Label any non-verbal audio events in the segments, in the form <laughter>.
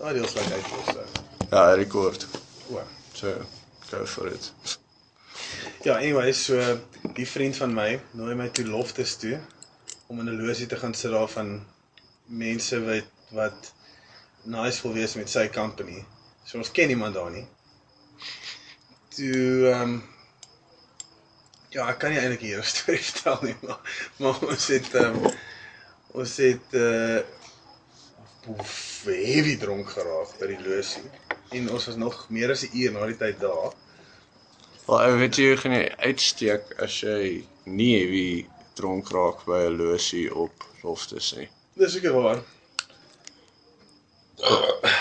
Oh, it looks like April, so. Yeah, I record. Well. So go for it. Ja, anyway, so die vriend van my nooi my toe loftes toe om in 'n losie te gaan sit daar van mense wat wat nice wil wees met sy company. So ons ken niemand daar nie. Toe ehm um, ja, ek kan nie eintlik hier 'n <laughs> storie vertel nie, maar maar ons het ehm um, ons het eh uh, heavy dronk geraak by die losie en ons was nog meer as 'n uur na die tyd daar. Wel, ou weet jy, jy gaan jy uitsteek as jy nie heavy dronk raak by 'n losie op loftes nie. Dis seker waar.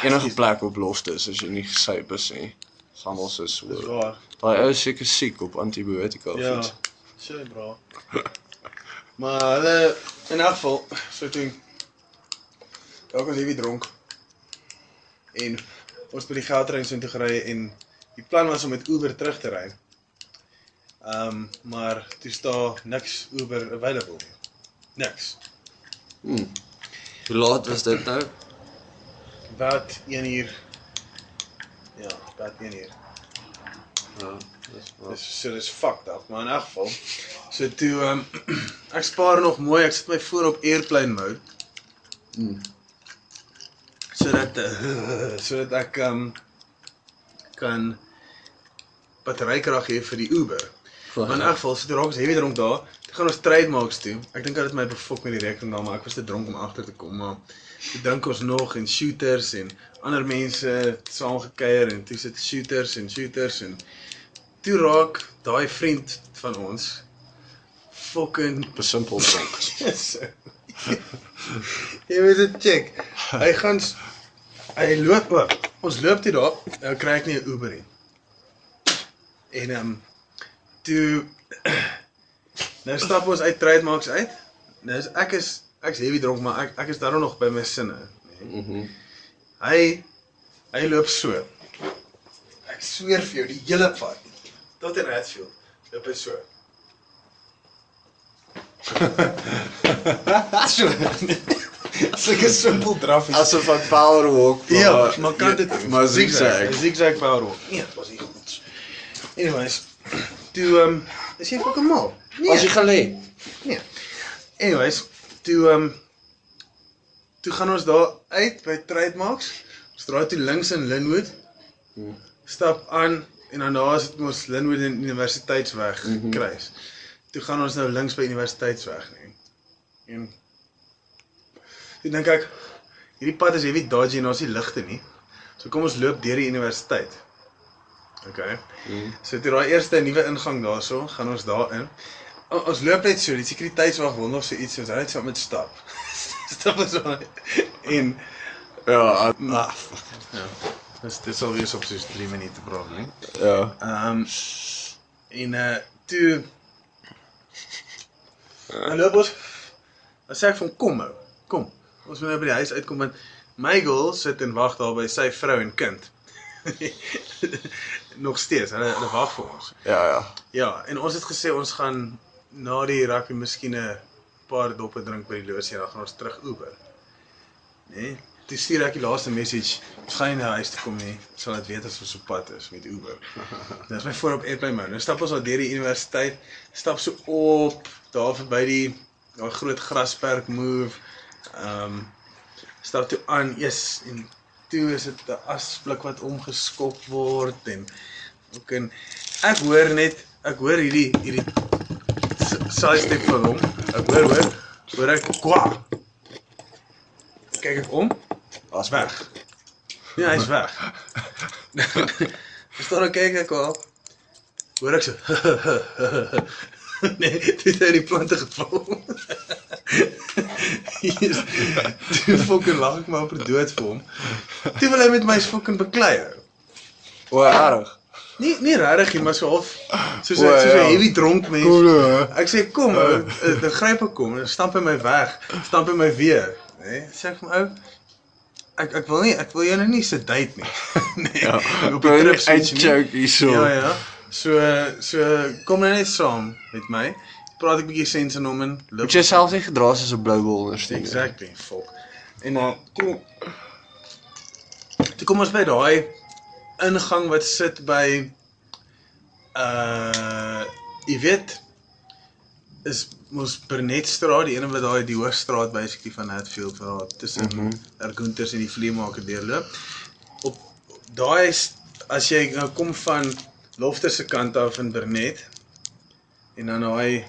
Enige plek op loftes as jy nie gesyp is nie. Gaan ons is Dis hoor. waar. Daai ou is seker siek op antibiotika of Ja. iets. Sjoe, bra. <laughs> maar hulle in elk geval so toe dalk ons heavy dronk en ons by die Gautrain so toe gery en die plan was om met Uber terug te ry. Ehm um, maar toe staan niks Uber available nie. Niks. Hmm. Hoe laat was dit nou? Wat 1 uur. Ja, wat 1 uur. Ja, dis waar. Dis so dis fucked up, maar in elk geval. So toe ehm <clears throat> um, ek spaar nog mooi, ek sit my voor op airplane mode Mm. sodat eh, <laughs> sodat ek ehm um, kan batterykrag hê vir die Uber. Maar in elk geval, so toe raak ons heavy dronk daar. Toe gaan ons trademarks toe. Ek dink hulle het my befok met die rekening daar, maar ek was te dronk om agter te kom, maar toe drink ons nog en shooters en ander mense het saam gekuier en toe sit shooters en shooters en toe raak daai vriend van ons fucking Besimpel <laughs> dronk. Yes. <laughs> Jy moet dit check. Hy gaan s- hy loop oop. Ons loop toe daar, nou kry ek nie 'n Uber nie. En ehm um, toe <clears throat> nou stap ons uit Trademarks uit. Nou is ek is ek's heavy dronk, maar ek ek is daarom nog by my sinne. nê. Mhm. Hy hy loop so. Ek sweer vir jou, die hele pad tot in Hatfield loop hy so. So. Sulke simpel draffies. Asof ek power walk. Ja, maar kan dit eh, maar zigzag. zigzag power walk. Nee, was nie goed. Anyways, toe ehm um, is jy fucking mal. As jy gaan lê. Ja. Anyways, toe ehm um, toe gaan ons daar uit by Trademarks. Ons draai toe links in Linwood. Hmm. Stap aan en dan daar is dit ons Linwood en Universiteitsweg mm Mhm. -hmm. kruis. Toe gaan ons nou links by Universiteitsweg nie. En toe dink ek hierdie pad is heavy dodgy en daar's nie ligte nie. So kom ons loop deur die universiteit. Okay. Mm. So toe daai eerste nuwe ingang daarso, gaan ons daarin. O, ons loop net so, die sekuriteitswag wil nog so iets, ons hou net saam met stap. <laughs> stap ons aan. En ja, Ja, ah, ah, dis dis al weer so op so 3 minute probably. ja. Ehm um, en uh toe Nou loop ons dan sê ek van kom ou, kom. Ons moet nou by die huis uitkom want my girl sit en wag daar by sy vrou en kind. <laughs> nog steeds, hulle hulle wag vir ons. Ja, ja. Ja, en ons het gesê ons gaan na die rugby miskien 'n paar doppe drink by die losie en dan gaan ons terug Uber. Né? Nee? Toe stuur ek die laaste message, ons gaan nie na huis toe kom nie. Ons Sal dit weet as ons op pad is met Uber. Dit is my voor op airplane mode. Nou stap ons al deur die universiteit, stap so op daar verby die daai groot grasperk move. Ehm um, stap toe aan, yes, en toe is dit 'n asblik wat omgeskop word en ook en Ek hoor net, ek hoor hierdie hierdie s- sidestep van hom. Ek hoor hoor, hoor ek kwa. Kyk ek om, Was weg. Ja, hy's weg. Verstaan ek kyk ek al. Hoor ek so. <laughs> nee, dit het uit die plante geval. <laughs> Hier is die fucking lag ek maar per dood vir hom. Toe wil hy met my fucking beklei. ou. O, erg. Nie nie regtig nie, maar so half soos 'n O, soos 'n ja. heavy dronk mens. Cool. Ek sê kom, ou, eh, dan gryp ek hom en stamp hy my weg, stamp hy my weer, nê? Nee? Sê ek vir my ou, ek ek wil nie, ek wil jou nou nie <laughs> sedate nie. nee. Ja. Op die trip switch nie. joke hierso. Ja ja. So so kom nou net saam met my. Praat ek 'n bietjie sense in hom en loop. Moet jy self nie gedra soos 'n blou bol ondersteun. Exactly, fok. En dan toe eh, Toe kom ons by daai ingang wat sit by uh jy weet is mos Burnetstraat, die ene wat daai die hoofstraat basically van Hatfield verraad tussen mm -hmm. Ergunters en die vleemaker deurloop. Op daai is- as jy nou kom van Lofter se kant af in Burnet en dan daai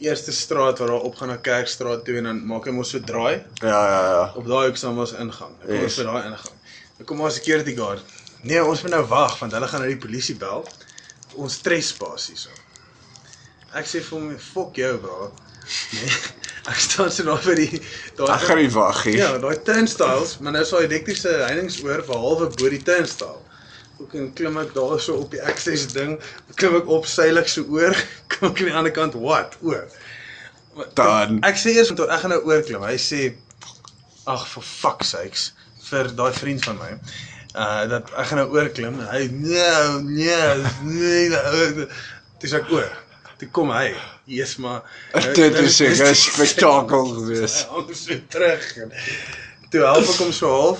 eerste straat waar daar opgaan na Kerkstraat toe en dan maak hy mos so draai Ja ja ja. op daai hoek saam was ingang. Ek kom Yes. yes. vir daai ingang. Ek kom maar security guard. Nee, ons moet nou wag want hulle gaan nou die polisie bel. Ons stres pas hierso. Ek sê vir hom, "Fok jou, bro." <laughs> Nee. Ek staan so daar by die Ek gaan daai nie wag nie. Ja, daai turnstiles, maar nou is daai elektriese heiningsoor behalwe bo die turnstile. Ook en klim ek daar so op die access ding, klim ek op seilig so oor, <laughs> kom ek aan die ander kant, what? Oor. Maar- Dan. Ek sê eers toe ek gaan nou oorklim. Hy sê ag for fuck sakes vir daai vriend van my. Uh dat ek gaan nou oorklim en hy nee, nee, nee. nee." Dis ek oor. Toe kom hy. Jesus maar. <laughs> <laughs> nou- Dit is <laughs> Ja. 'n spektakel Hy gewees. hang so terug en toe help ek hom so half.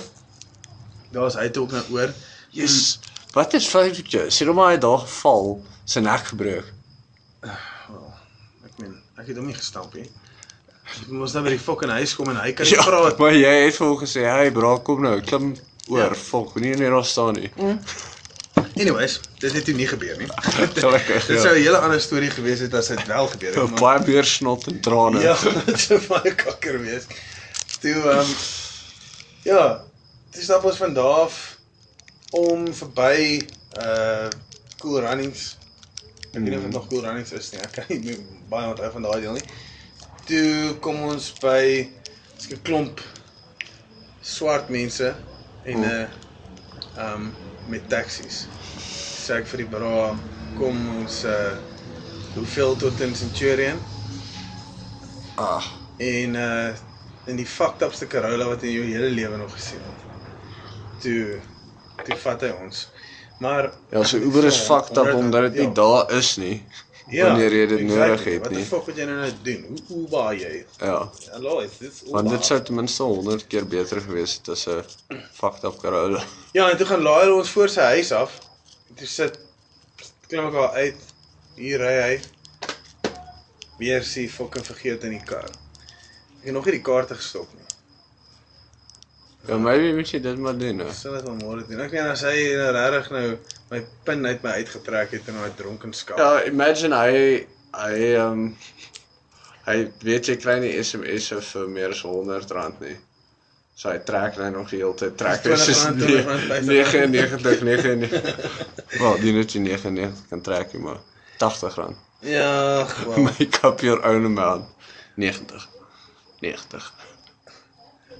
Daar's hy toe ook nou oor. Jesus. Wat is fout met jou? Sê hom maar hy het daar geval, sy nek gebreek. Ek meen, ek het hom nie gestamp nie. Ek moes nou by die fucking huis kom en hy kan nie ja, Ja, praat. maar jy het vir hom gesê, "Hey bra, kom nou, klim Ja. oor, volg, nie net daar staan nie." Anyways, dit het toe nie gebeur nie. <laughs> Gelukkig. Dit ja. sou 'n hele ander storie gewees het as dit wel gebeur het. maar- Baie meer snot en trane. Ja, <laughs> dit sou baie kakker wees. Toe ehm um, ja, dis stap ons van daar af om verby uh Cool Runnings. Ek weet nie of dit nog Cool Runnings is nie. Ek kan nie meer baie onthou van daai deel nie. Toe kom ons by so 'n klomp swart mense en 'n ehm um, met taxis. Sê ek vir die bra kom ons uh hoeveel tot in Centurion? Ah, en uh in die fucked upste Corolla wat in jou hele lewe nog gesien het. Toe toe vat hy ons. Maar ja, so Uber is fucked up omdat dit nie Ja. daar is nie. wanneer jy dit nodig het Wat nie. die fuck moet jy nou nou doen? Hoe hoe baie jy? Ja, Hallo, is dit Uber? want dit sou ten minste 100 keer beter gewees het as 'n fucked up Corolla. Ja, en toe gaan laai hulle ons voor sy huis af. Toe sit klim ek al uit. Hier ry hy. Weer sien fucking vergeet in die kar. Ek het nog nie die kaarte gestop nie. Ja, maybe moet jy dit maar doen. hè. Sal dit maar môre doen. Ek meen as hy nou regtig nou my pin uit my uitgetrek het in daai dronkenskap. Ja, imagine hy hy ehm um, hy weet jy kry nie SMS'e vir meer as R100 nie. So hy trek hy nog die hele tyd trek hy Dis soos R20, nee, R50. 99 99. <laughs> Wel, die net die 99 kan trek jy maar R80. Ja, gewoon. <laughs> Make up your own amount. 90. 90.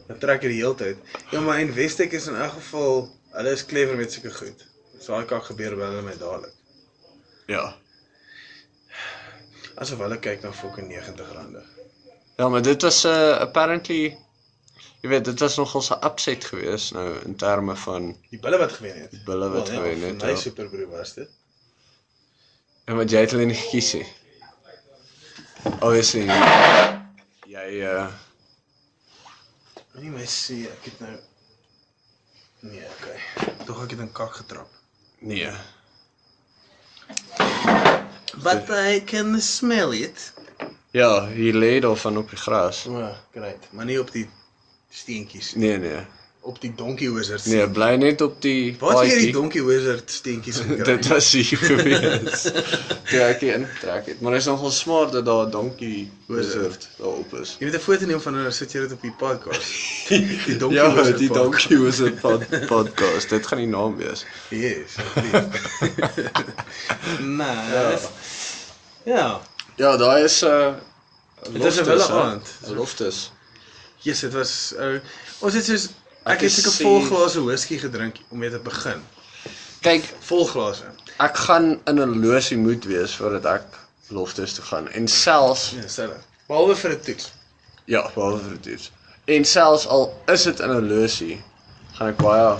Dan trek hy die hele tyd. Ja, maar en Westec is in elk geval, hulle is clever met sulke goed. So daai kak gebeur by hulle my dadelik. Ja. Asof hulle kyk na fucking R90. Ja, maar dit was uh, apparently jy weet, dit was nogal 'n upset geweest nou in terme van Die bulle wat gewen het. Die bulle wat gewen het, My ja. superbroer was dit. en wat jy het hulle nie gekies nie. Obviously. Jy uh Moenie my sê ek het nou Nee, okay. Tog ek het in kak getrap. nee. But I can smell it. Ja, hier lê daar van op die gras. O, great. Maar nie op die steentjies nie. Nee, nee. Op die donkey wizard. Nee, bly net op die Wat het hierdie paadjie. donkey wizard <laughs> steentjies gekry? Dit was hier gewees. Toe ek hier ingetrek het, maar dit is nogal smart dat daar 'n donkie wizard daarop is. Jy moet 'n foto neem van hulle, sit jy dit op die podcast. <laughs> Die donkey Ja, wizard. die podcast. Donkie was 'n pod, <laughs> podcast. Dit gaan die naam wees. <laughs> Yes. <laughs> nee. Ja. ja. Ja, daai is 'n uh, Dit is 'n wille aand. Loftes. Yes, dit was ou. Ons het soos ek Ek het is seker sê- vol glase whisky gedrink om mee te begin. Kyk, Vol glase. ek gaan in 'n losie moet wees voordat ek Loftes toe gaan. En selfs Ja, stel. Behalwe vir 'n toets. ja, behalwe vir dit. En selfs al is dit in 'n losie, gaan ek baie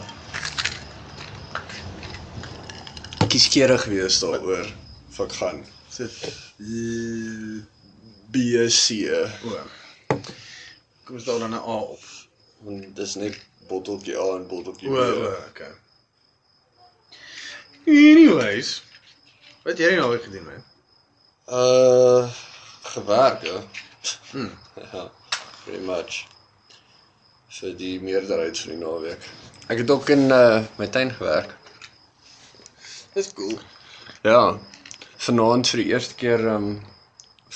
kieskeurig wees daaroor of ek gaan. Sit. B C. O. Kom ons daal dan 'n nou A op. Want dis net botteltjie A en botteltjie O, B. o, okay. Anyways, wat jy nou weer gedoen het? Uh gewerk, hè. Hmm. ja, pretty much. Vir die meerderheid van die naweek. Ek het ook in uh my tuin gewerk. Dis cool. Ja. Vanaand vir die eerste keer um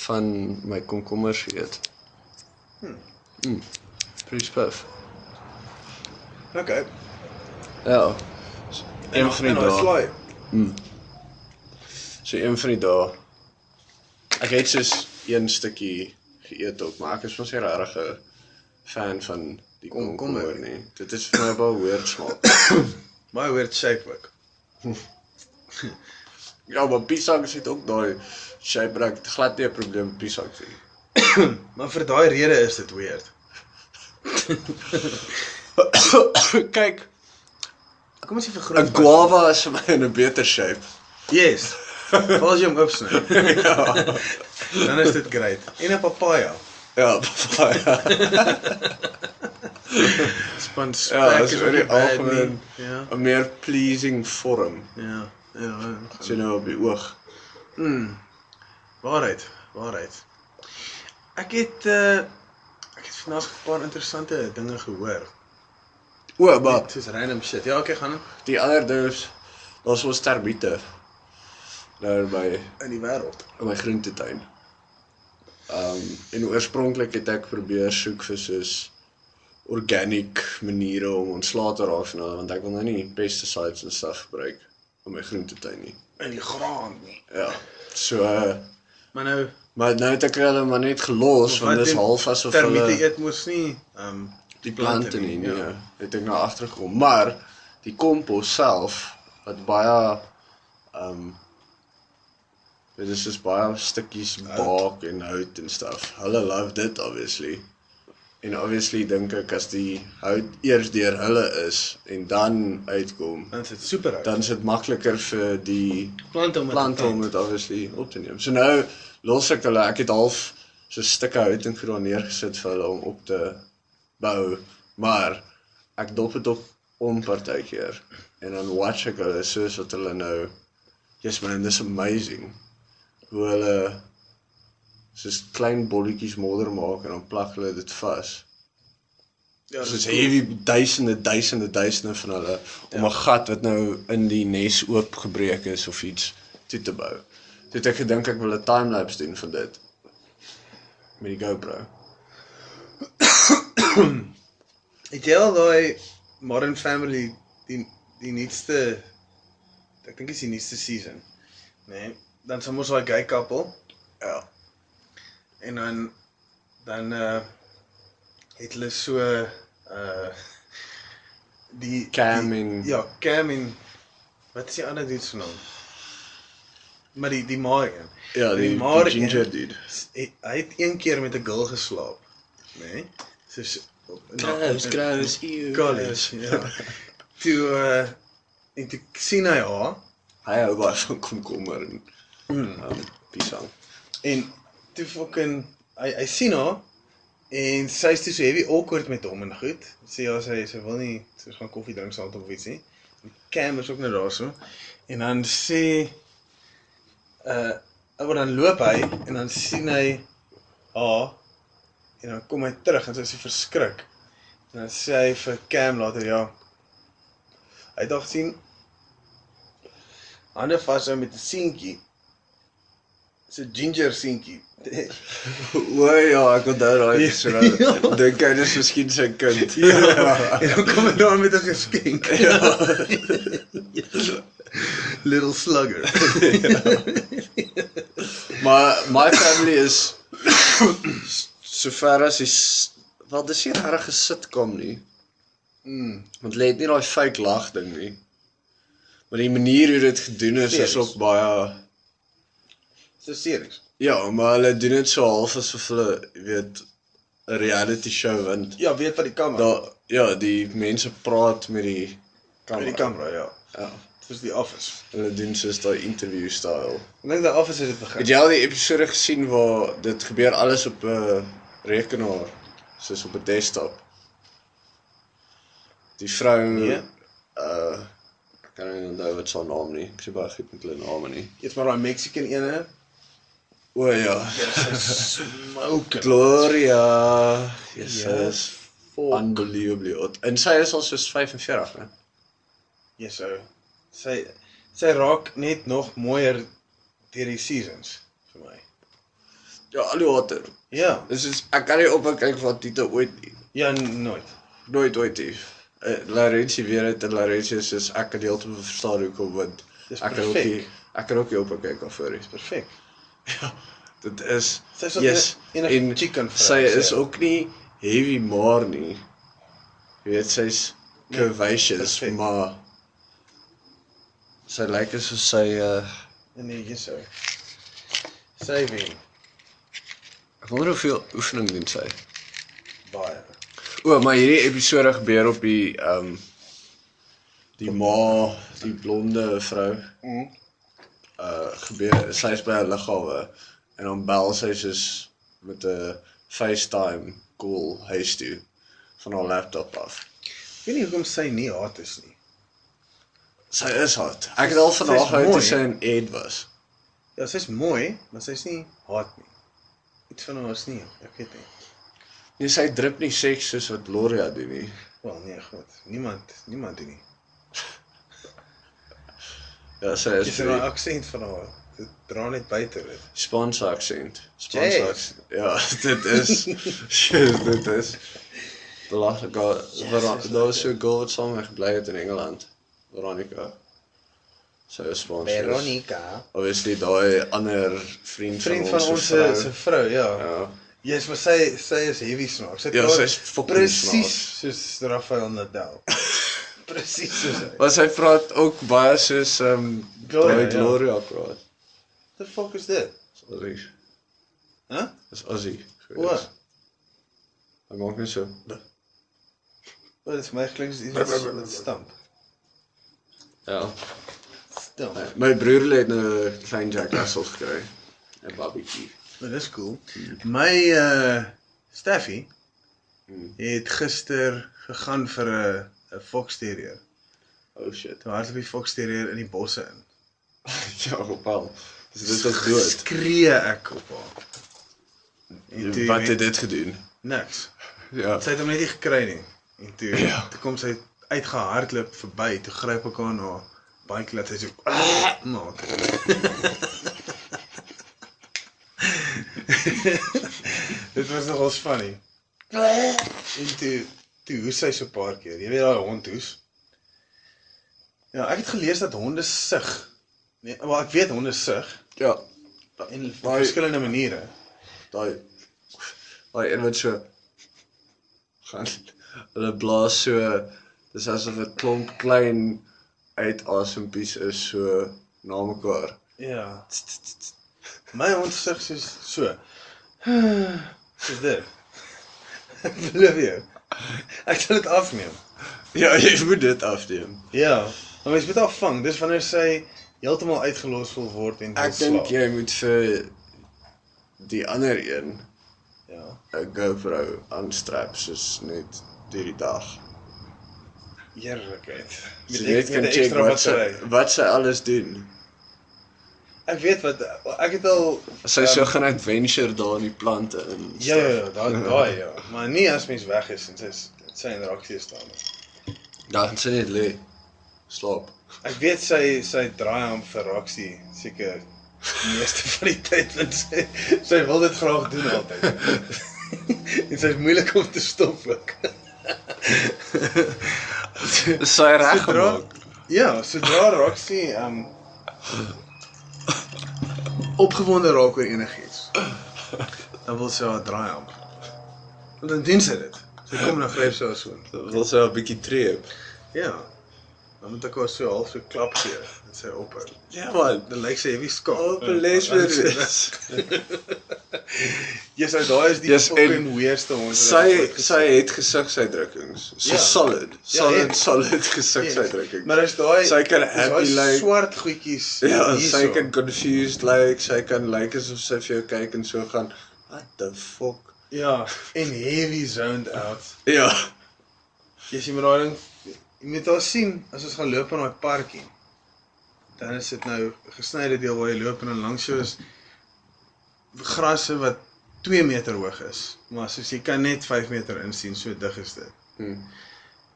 van my komkommers geëet. Hmm. Mm. Pretty spiff. Okay. Ja. nou, Een van die dae. dae. So een van die dae. Ek het soos een stukkie geëet ook, maar ek is mos nie regtig 'n fan van die Komkommer. komkommer nie. Dit is vir my baie weird smaak. <coughs> My word shape ook. Ja, maar piesang is dit ook daai shape raak glad nie 'n probleem met piesang nie. <coughs> Maar vir daai rede is dit weird. Kyk, Kom ons sê vir 'n guava is vir my in 'n beter shape. <laughs> Yes. Val jy hom opsny. Dan is dit great. En 'n papaja. Ja, <laughs> papaya. Span Ja, spek dis is oor ook die nie bad nie. algemeen. Ja. 'n meer pleasing vorm. Ja. Ja. Sien nou op die oog. Mm. Waarheid, waarheid. Ek het uh ek het vandag 'n paar interessante dinge gehoor. O, maar Wat? Soos random shit. Ja, okay, gaan die ander ding is daar's ons termiete. Nou by in die wêreld. in my groentetuin. Ehm um, en oorspronklik het ek probeer soek vir soos organic maniere om ontslae te raak van want ek wil nou nie pesticides en stuff gebruik in my groentetuin nie. In die grond nie. Ja. So uh, Maar nou, maar nou het ek hulle maar net gelos Wat want dit is doen half asof hulle termiete eet mos nie ehm um, die plante nie, nie. Ja. Het ek nou agtergekom, maar die kompos self wat baie ehm um, dit is soos baie stukkies baak en hout en stuff. Hulle love dit obviously. En obviously dink ek as die hout eers deur hulle is en dan uitkom, Dan is dit super uit. dan is dit makliker vir die plante om plante om dit obviously op te neem. So nou los ek hulle, ek het half so stukke hout en goed daar neergesit vir hulle om op te bou, maar ek dop dit op om partykeer en dan watch ek hulle soos wat hulle nou yes man, this amazing. Hoe hulle soos klein bolletjies modder maak en dan plak hulle dit vas. Ja, Soos dis heavy duisende duisende duisende van hulle om 'n gat wat nou in die nes oopgebreek is of iets toe te bou. Toe het ek gedink ek wil 'n time-lapse doen van dit met die GoPro. het jy al daai Modern Family die die nuutste ek dink is die nuutste season. Nee, dan sommer so 'n gay couple Ja. En dan dan uh het hulle so uh die Cam die- en- ja, Cam en wat is die ander dude se naam? Maar die die maar een. Ja, die, die maar ginger een- dude. s- het- Hy het een keer met 'n girl geslaap, nê? Nee? Soos Eh, Kraus, kraus, eeu. college, ja. Toe uh en toe sien hy haar Hy hou baie van komkommer en Mm. um, <laughs> piesang. En toe fucking hy hy sien haar en sy's toe so heavy awkward met hom en goed. Sê ja sy sy wil nie sy gaan koffie drink saam of iets nie. Die Cam is ook nou daarso. En dan sê uh oor dan loop hy en dan sien hy haar en dan kom hy terug en sy is so verskrik. En dan sê hy vir Cam later ja. Hy dink sien Hande vashou met 'n seentjie. Dis 'n ginger seentjie. O ja, ek onthou daai Ja. episode. Dink hy dis miskien sy <laughs> kind. Ja. En dan kom hy daar met 'n <laughs> geskenk. Ja. Little slugger. Maar my family is <coughs> sover as die s- wel dis nie regtig 'n sitcom nie. Mm. Want hulle het nie daai fake lag ding nie. Maar die manier hoe dit gedoen is is Serious. op baie So serious. ja, maar hulle doen dit so half asof hulle jy weet 'n reality show want Ja, weet wat die kamera. daar ja, die mense praat met die Met kamera. die kamera, ja. Ja, Soos die office. hulle doen soos daai interview style. Ek dink die office het dit begin. Het jy al die episode gesien eh, waar dit gebeur alles op 'n rekenaar, soos op 'n desktop? Die vrou Nee. uh ek kan nie onthou wat sy naam nie. Ek sê baie goed met hulle name nie. Eet maar daai Mexican ene. O ja, Smoke. Gloria. Jesus. Jesus. Fuck. Unbelievably hot. En sy is al soos 45, né? Yes, ou. Ja, Sy sy raak net nog mooier deur die seasons vir my. Ja, al hoe hotter. Ja, Dis is ek kan nie ophou kyk wat dit ooit nie. ja nooit. nooit ooit nie. Uh, Laurenti weer het en Laurenti is soos ek kan heeltemal verstaan hoekom want Dis ek kan ook nie perfek. ek kan ook nie ophou kyk of vir iets. Perfek. Dit is Sy is ook yes, enig- enige en chicken vrou, Sy sê is hy. ook nie heavy maar nie. Jy weet sy's Nee, curvaceous, perfek. maar sy lyk asof sy uh Nee, yes, ou. Sy wen ek wonder hoeveel oefening doen sy. baie. O, maar hierdie episode gebeur op die ehm um, die ma, die blonde vrou. Mm. Mhm. Uh gebeur sy's by 'n lughawe en dan bel sy soos met 'n FaceTime call huis toe van haar laptop af. Ek weet nie hoekom sy nie haat is nie. Sy is hot. Ek het al van Sy is haar gehou toe mooi. sy in Ed was. Ja, sy's mooi, maar sy's nie haat nie. Iets van haar is nie, ek weet nie. Nee, sy drup nie seks soos wat Gloria doen nie. Wel nee, goed. Niemand, niemand doen nie. Ja, sy is Dis 'n die aksent van haar. Dit dra net buite dit. Spaanse aksent. Spaanse Jeez. aksent. Ja, <laughs> dit is shit, dit is belaglik. Jesus, Daar was so 'n girl wat saam met my gebly het in Engeland. Veronica. Sy is Spaans. Obviously daai ander vriend, Vriend van ons se vrou. se vrou, ja. ja. Jy's maar sy sy is heavy snaaks. Sy Ja, praat sy is fucking presies snaaks. soos Rafael <laughs> Nadal. presies soos hy. Maar sy praat ook baie soos ehm um, Gloria, daai ja. Gloria praat. The fuck is dit? Sorry. Hæ? Dis Aussie. O, Hy maak net so. wat is my klink is iets wat- wat stamp. Ja. Stamp. My broer het nou 'n klein Jack Russell gekry. 'n Babietjie. Dit is Nou, cool. My uh Staffy het gister gegaan vir 'n 'n fox terrier. Oh shit. <laughs> Toe hardloop die fox terrier in die bosse in. ja, opal. Dis dit is dood. Skree ek op haar. En toe Wat het dit gedoen? niks. Ja. Sy het hom net nie gekry nie. En toe Ja. toe kom sy uitgehardloop verby, toe gryp ek haar na baie laat sy so "Ah!" maak. <laughs> Dit was nogal funny. En toe toe hoes sy so 'n paar keer. Jy weet daai hond hoes. Ja, ek het gelees dat honde sug. Nee, maar ek weet honde sug Ja. en op Maar- verskillende maniere. Daai daai een wat so gaan hulle blaas so dis asof 'n klomp klein uitasempies is so na mekaar. <laughs> Ja. My hond sug soos so. <sighs> Soos dit. <laughs> Ek Beloof jou. Ek sal dit afneem. Ja, jy moet dit afneem. Ja. Maar mens moet haar vang. Dis wanneer sy heeltemal uitgelos wil word en wil Ek dink slaap. jy moet vir die ander een Ja. 'n GoPro aanstrap soos net hierdie dag. Heerlikheid. So jy net ek- kan met 'n check ekstra wat sy battery. wat sy alles doen. Ek weet wat ek het al As sy so gaan adventure daar in die plante in. Ehm, Ja ja, ja, daai daai ja. Maar nie as mens weg is en sy is- sy in reaksie staan. Dan sy net lê slaap. Ek weet sy sy draai hom vir reaksie seker die meeste <laughs> van die tyd want sy sy wil dit graag doen altyd. <laughs> en sy's moeilik om te stop ook. Is sy reg Sodra gemaak? Ja, sodra Roxy um opgewonde raak oor enigiets, dan wil sy haar draai aan. En dan doen sy dit. Sy kom na gryp sy haar so. Wil sy 'n bietjie treep? Ja. Dan moet ek haar so half so klap gee en sy ophou. Ja man. Dan lyk sy heavy Ja, skop. Op 'n les weer. <laughs> <laughs> Yes, ou, Ja, daai is die Yes, en fucking weerste hond. wat ek Sy ooit gesien sy het gesigsuitdrukkings. Sy Ja. solid. Ja, Solid en- solid het. gesigsuitdrukkings. Ja. Maar as daai Sy kan is daai happy lyk. swart goedjies. Ja, hierso. sy kan confused lyk, like, sy kan lyk like asof sy vir jou kyk en so gaan. What the fuck? Ja, en heavy zoned out. Ja. Jy sien met daai ding, jy moet daar sien as ons gaan loop in daai parkie. Dan is dit nou 'n gesnyde deel waar jy loop en dan langs jou is grasse wat 2 meter hoog is, maar soos jy kan net 5 meter insien, so dig is dit. Hmm.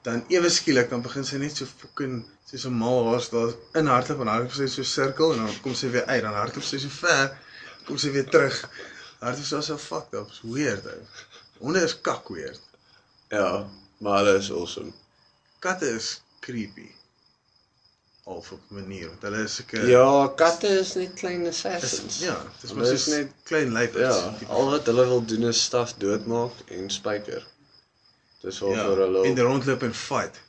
Dan ewe skielik dan begin sy net so fucking soos 'n mal haas daar in hardloop en hardloop sy so 'n sirkel en dan kom sy weer uit, dan hardloop sy so ver, kom sy weer terug. Hardloop sy so fucked up, is weird ou. Honde is kak weird. Ja, maar hulle is awesome. Katte is creepy. Of op 'n manier, want hulle is seker Ja, katte is net klein is, assassins. ja, dit is maar Hulle soos is net net klein luiperds. ja, al wat hulle wil doen is staf doodmaak en spyker. Dis waarvoor hulle en ja, rondloop en fight.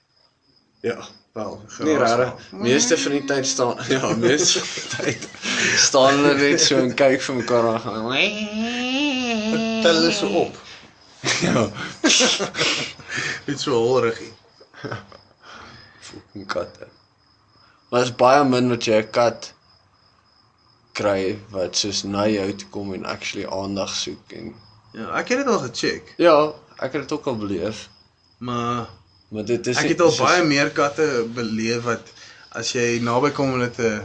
Ja, wel. Geraas Nee, rare. maak. Meeste van die tyd staan <laughs> ja, meeste van die tyd staan hulle net so en kyk vir mekaar aan gaan. Tel hulle so op. Ja, Net so holriggie. fucking katte. Maar is baie min wat jy 'n kat kry wat soos na jou toe kom en actually aandag soek en Ja, ek het dit al gecheck, ja, ek het dit ook al beleef, maar maar dit is ek nie- het al soos- baie meer katte beleef wat as jy naby kom hulle te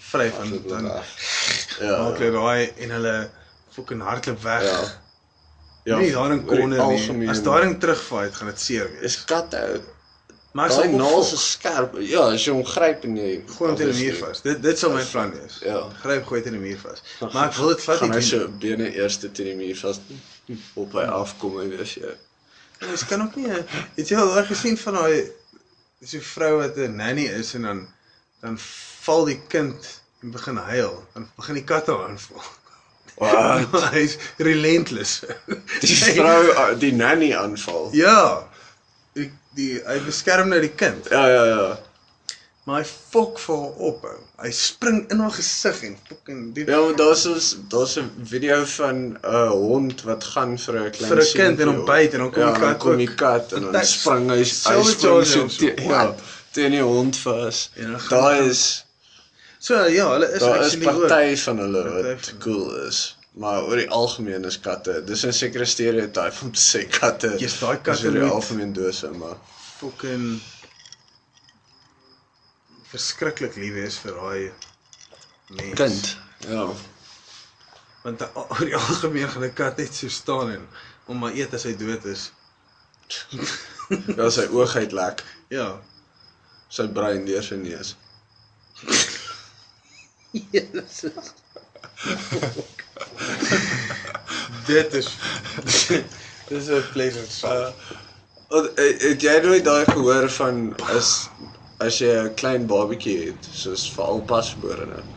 vryf en dit dan weg. Ja. maak hulle raai en hulle fucking hardloop weg. Ja. Ja, nie daarin oor die kon nie. algemeen. As daarin terugfight, gaan dit seer wees. is katte ou. Maar ek Daai sal opvolg. naels is skerp. Ja, as jy hom gryp en jy Gooi hom teen die muur vas. Dit dit sal my Dis- plan wees. ja. Gryp gooi teen die muur vas. Maar ek wil dit vat Gaan hy nie. se bene eers teen die muur vas op hy afkom en dis <laughs> jy. Nee. doen. Ons kan ook nie. hè. Het jy al daai gesien van daai so vrou wat 'n nanny is en dan dan val die kind en begin huil. Dan begin die katte aanval. Wow, <laughs> Hy's relentless. Nee, die vrou uh, die nanny aanval. Ja. Die, die hy beskerm nou die kind. Ja ja ja. Maar hy fok vir haar op. ou. Hy spring in haar gesig en fucking die Ja, maar daar's ons daar's 'n video van 'n uh, hond wat gaan vir 'n klein Vir 'n kind en hom seentjie op. byt en dan kom ja, die dan kat kom die ook. kat en dan Attack. spring hy hy Silver spring Charger so of so. te- ja, teen die hond vas. En Ja, dan gaan- Daar is So ja, hulle is Daar is actually ook. party van hulle Party wat van- cool is, maar oor die algemeen is katte. Dis 'n sekere stereotype om te sê katte. Yes, daai is katte oor die moet- algemeen dose, maar fucking verskriklik lief wees vir daai mens. kind. Ja. Want a- <laughs> oor die algemeen gaan 'n kat net so staan en om maar eet as hy dood is. Ja, sy oog uit lek, Ja. sy brein deur sy neus. Jezus. Dit is <laughs> dis 'n pleasant Uh, wat- eh, het jy nooit daai gehoor van as as jy 'n klein babatjie het, soos veral pasgeborene, nou?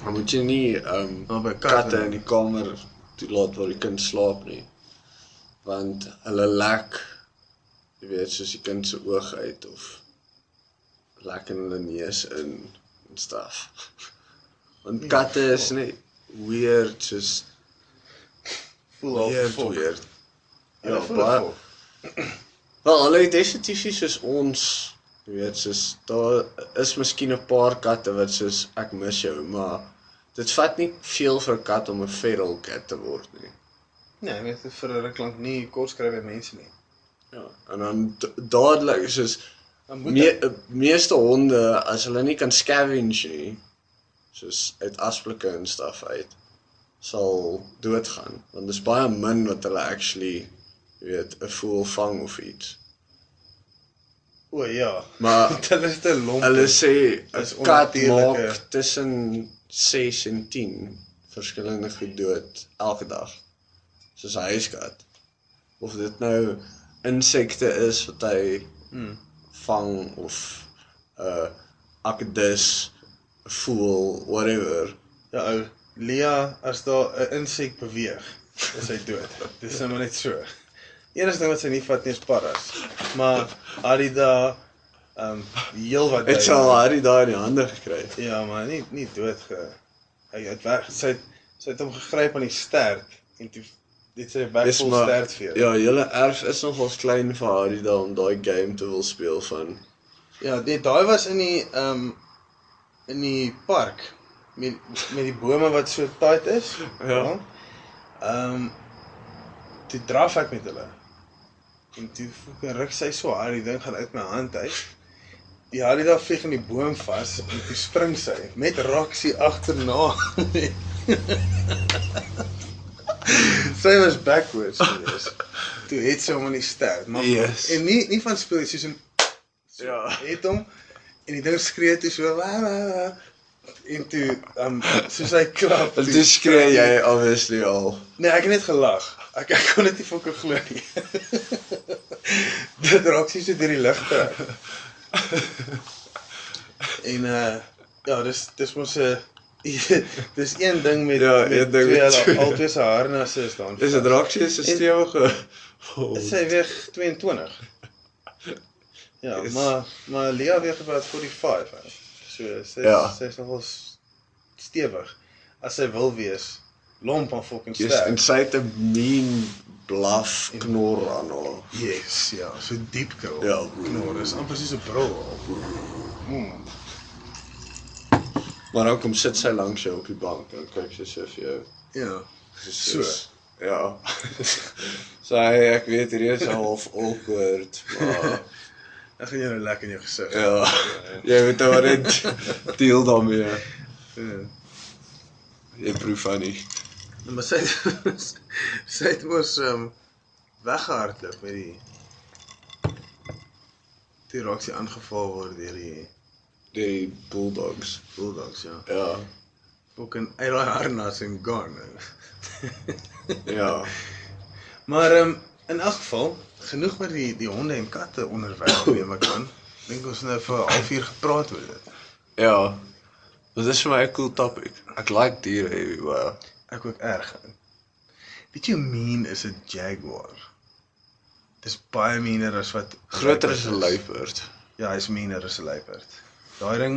dan moet jy nie ehm Oh, by katte. katte in die kamer toelaat waar die kind slaap nie. Want hulle lek jy weet soos die kind se oog uit of lek in hulle neus in en stuff. <laughs> Want katte is net weird soos Voel weird, vol. weird. Ja, Ja, baie. baie Wel, hulle het definitief nie soos ons, jy weet, soos daar is miskien 'n paar katte wat soos ek mis jou, maar dit vat nie veel vir 'n kat om 'n feral cat te word nie. Nee, net vir 'n ruk lank nie kos kry by mense nie. Ja, en dan d- dadelik soos Dan moet me, meeste honde as hulle nie kan scavenge nie, soos uit asblikke en stuff uit, sal doodgaan, want dis baie min wat hulle actually, jy weet, 'n voël vang of iets. O ja. Maar <laughs> Dit is te lomp. Hulle sê 'n Dis kat onnatuurlike- maak tussen 6 en 10 verskillende goed dood elke dag. Soos 'n huiskat. Of dit nou insekte is wat hy Hmm. vang of 'n uh, akedus, 'n voël, whatever. Ja, ou. Lia, as daar 'n insek beweeg, is hy dood. <laughs> Dis nou maar net so. Enigste ding wat sy nie vat nie is paddas. Maar Arida ehm um, heel wat Dit sal haar die daai in die hande gekry. het. Ja, maar nie nie dood ge. Hy het weg. Sy het, sy het hom gegryp aan die stert en toe dit sy weg Dis vol maar stert vir. Ja, ja, julle erf is nogals klein vir haar die daai om daai game te wil speel van. ja dit daai was in die ehm um, in die park met met die bome wat so tight is. Ja. Ehm um, toe draf ek met hulle. En toe fucking ruk sy so hard, die ding gaan uit my hand uit. Die Harida vlieg in die boom vas en toe spring sy met Roxy agterna. <laughs> sy was backwards geweest. Toe het sy hom in die stert, maar Yes. en nie nie van speel soos 'n so, Ja. het hom en die ding skree toe so wa wa wa en toe um soos hy klap. En toe skree jy obviously al. Nee, ek het net gelag. Ek ek kon dit nie fucking glo nie. <laughs> dit raak sies so deur die lug trek. En uh ja, dis dis mos 'n <laughs> dis een ding met Ja, een ding met twee twee. altyd se harnasse is dan. Is dit Roxie se En- stewige? Oh, Dit sê weeg 22. Ja, Yes. maar maar Lia weeg about 45. hè. So sy Ja. ja. sy's nogal s- stewig as sy wil wees. Lomp en fucking sterk. Jy's en sy het 'n mean blaf knor aan haar. Yes, ja, so diep krul. Ja. knor is amper soos 'n bril. Mm. Maar dan kom sit sy langs jou op die bank en kyk sy so vir jou. Ja. Dis soos- Ja. <laughs> Sy ek weet hier is half awkward, <laughs> maar Dan gaan jy nou lekker in jou gesig. ja. Jy moet nou maar net deel daarmee. Ja. Jy proef aan nie. Maar sy sy het <laughs> mos um, weggehardloop met die toe raak sy aangeval word deur die Die bulldogs. bulldogs, ja. Ja. Fucking uit daai harnas en gone. man. Ja. Maar um, in elk geval, genoeg met die die honde en katte onderwerp <coughs> neem ek aan. Dink ons nou vir 'n halfuur gepraat oor dit. Ja. Dit is vir my 'n cool topic. Ek like diere heavy, wow. Ek ook erg. Weet jy hoe mean is 'n jaguar? Dis baie meaner as wat Groter as leopard 'n luiperd. Ja, hy's meaner as 'n luiperd. Daai ding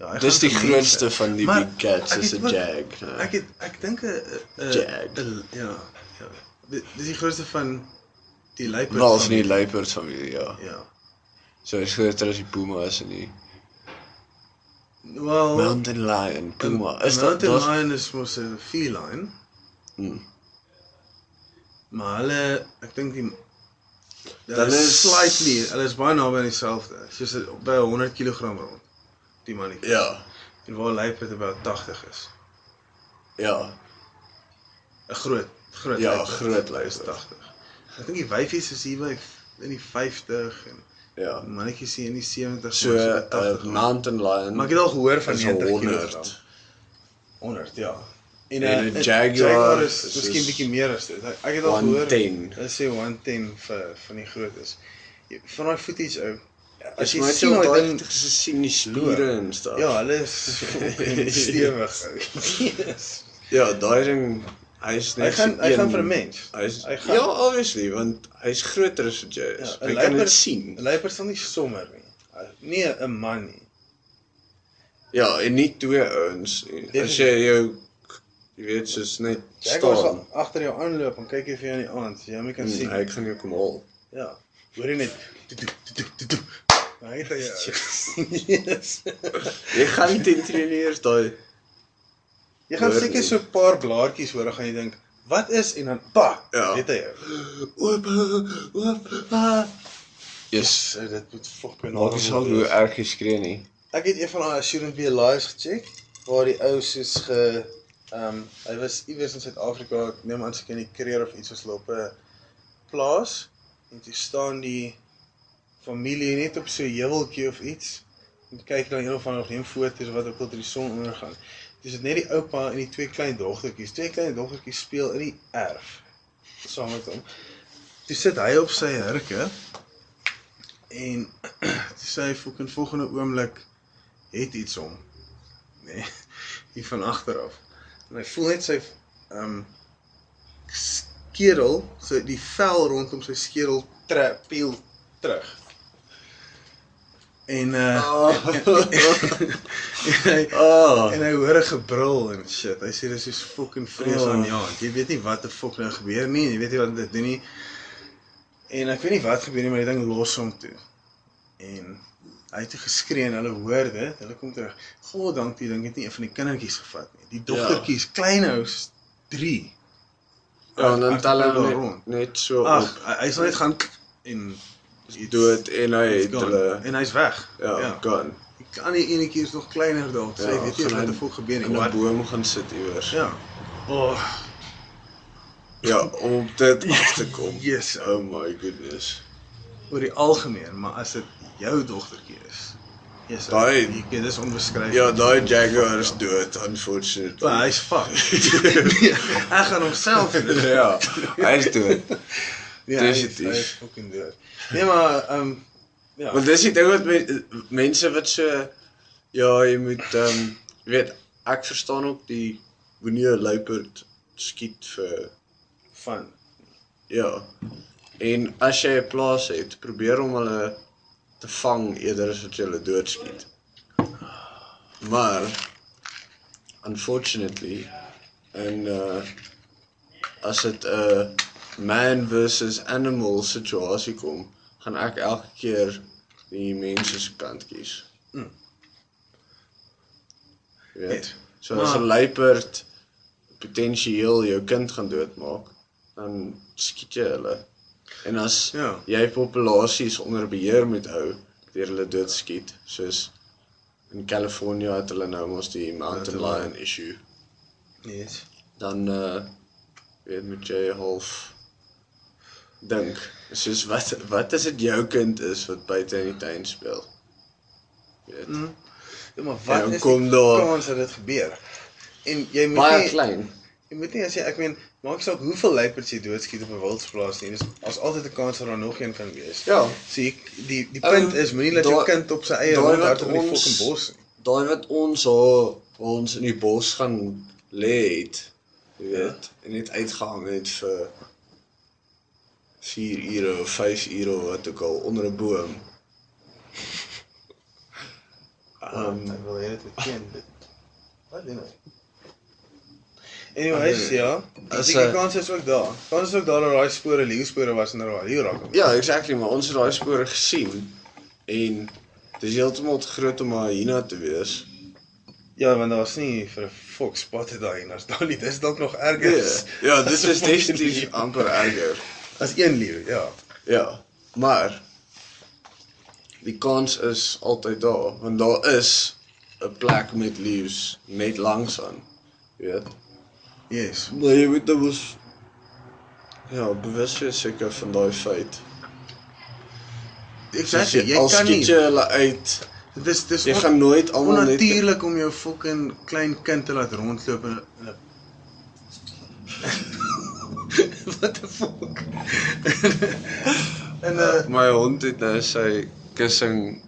Ja, hy Dis gaan die vir mense. grootste van die Maar big cats ek is het 'n ook- jag. né? Ek het ek dink 'n 'n- 'n- Jag. 'n- Ja, ja. Di- Dis die grootste van die luiperd. Wel is van- nie luiperd familie, ja. Ja. So is groter as die puma is en die Wel, mountain lion. Puma. een- Is een dat mountain dat? lion is mos 'n feline. Hmm. Maar hulle, ek dink die Dan dan is is- slightly, hulle is baie naby aan dieselfde. Soos dit by 100 kg rond die mannetjie. Ja. En waar luiperd about 80 is. Ja. 'n Groot, groot Ja, luiperd groot is luiperd. 80. Ek dink die wyfies is hier by in die 50 en Ja. die mannetjies hier in die 70 So maar by 'n rond. mountain lion. Maar ek het al gehoor van is 90 kg. 100. 100, ja. En En 'n- een 'n Jaguar is is miskien soos- bietjie meer as dit. Ek het al gehoor 110. Hulle sê 110 vir van die grootes. Jy- Van daai footage ou. As As jy jy sien hoe daai ding ding gesien die spiere en stuff. Ja, hulle is <laughs> fucking stewig. ou. <laughs> Yes. Ja, daai ding hy's Hy net gaan hy een- gaan vir 'n mens. Hy's Hy gaan. ja, obviously, want hy's groter as 'n Ja, jazz. een Jy kan dit luiperd- sien. 'n Luiperd sal nie sommer nie. Nee, 'n man nie. Ja, en nie twee ouens nie. Ja. As jy jou jy weet soos net Jy staan. kan Hmm, sal agter jou aanloop en kyk jy vir jou in die aand, so jy hom nie kan en sien. Hy gaan jou kom haal. Ja. Hoor jy net. Toe, toe, toe, toe, toe. Nou het hy jou. Yes. Jy gaan nie teen trainers daai Jy gaan Hoor seker nie. so 'n paar blaartjies hoor, dan gaan jy dink, "Wat is?" en dan pak, Ja. het hy jou. oop oop. ah. Yes. So dit moet fucking Maak nie saak hoe erg jy skree nie. Ek het een van daai Shouldn't Be Lives gecheck waar die ou soos ge ehm um, hy was iewers in Suid-Afrika, ek neem aan seker in die Kreer of iets was hulle op 'n plaas en toe staan die familie net op so 'n heuweltjie of iets en kyk na een of ander of neem foto's of wat ook al toe die son ondergaan. Dis dit net die oupa en die twee klein dogtertjies. Twee klein dogtertjies speel in die erf saam met hom. Toe sit hy op sy hurke en <clears throat> toe sê hy "Fucking volgende oomblik het iets hom. Nee, <laughs> hier van agter af. En hy voel net sy ehm um, skedel, so die vel rondom sy skedel trap peel terug. En uh <laughs> en hy Ah. en hy hoor 'n gebrul en shit. Hy sê dis is fucking vrees Oh. aan ja. Jy weet nie wat die fuck nou gebeur nie. en Jy weet nie wat dit doen nie. En ek weet nie wat gebeur nie, maar die ding los hom toe. En hy het toe geskree en hulle hoor dit. Hulle kom terug. God dank die ding het nie een van die kindertjies gevat nie. Die dogtertjies, ja. kleinous 3. Ja, en dan Ek- tel ek hulle wil net, rond. net so Ag, op hy- hy sal net gaan k- en iets- dood en hy iets het gaan. hulle en hy's weg. ja, gaan Ek kan nie enetjie is nog kleiner dalk. Sê Ja, weet jy gaan wat hy 'n voel gebeur in nie. 'n Wat? boom gaan sit iewers. Ja. O, oh, Ja, om op dit af te <laughs> kom. yes. ou. Oh my goodness. Oor die algemeen, maar as dit jou dogtertjie is. Yes. Daai- dit is onbeskryf. Ja, daai jaguar <laughs> is dood unfortunately. Maar hy's fuck. <laughs> Ek Nee, gaan homself. <laughs> ja, hy is dood. Ja, Definitief. Dis fucking dood. Nee maar ehm um, ja. Want dis die ding wat men, mense wat so ja, jy moet ehm um, weet, ek verstaan ook die wanneer 'n luiperd skiet vir van ja. En as jy 'n plaas het, probeer om hulle te vang eerder as wat jy hulle doodskiet. Maar unfortunately en uh as dit 'n man versus animal situasie kom, gaan ek elke keer die mense se kant kies. Mm. Jy Weet. Net. So as Maar- 'n luiperd potensieel jou kind gaan doodmaak, dan skiet jy hulle. En as Ja. jy populasies onder beheer moet hou deur hulle doodskiet, soos in Kalifornië het hulle nou mos die mountain Mountain lion. lion issue. yes. Dan uh weet moet jy half dink. Soos wat wat as dit jou kind is wat buite in die tuin speel? Weet. Mm, Mm. Ja, maar wat wat en dan is kom kom daar kans dat dit gebeur? En jy moet baie nie klein. jy moet nie as jy ek meen maak saak hoeveel luiperds jy doodskiet op 'n wildsplaas nie. Dis as altyd 'n kans dat daar nog een kan wees. Ja, So jy, die die Ou, punt is moenie dat jou daar- kind op sy eie daar rondhard wat in die ons- fucking bos nie. daai wat ons haar ons in die bos gaan lê het, jy weet, en net uitgehang het vir 4 ure of 5 ure of wat ook al onder 'n boom. Ehm, Um, ek wil hê dit moet ken. dit- Wat doen hy? Anyways, ja. Ehm, As As die hy- kans is ook daar. Kans is ook daar dat daai spore leeuspore was en dat daar leeu raak. Ja, exactly, maar ons het daai spore gesien en dis heeltemal te groot om 'n hyena te wees. Ja, want daar was nie vir 'n fok spot het daai en as daar nie, dis dalk nog erger Ja, yes. ja <laughs> dit is definitief amper erger. as een leeu, ja. Ja, maar die kans is altyd daar want daar is 'n plek met leaves net langs aan. Jy weet. Yes. Maar jy moet nou mos ja, bewus wees seker van daai feit. Exactly. Soos Jy al kan skiet nie. Jy hulle uit. Dis dis Jy on- gaan nooit almal net onnatuurlik om jou fucking klein kind te laat rondloop in 'n <laughs> in 'n What the fuck? En uh, my hond het nou sy kussing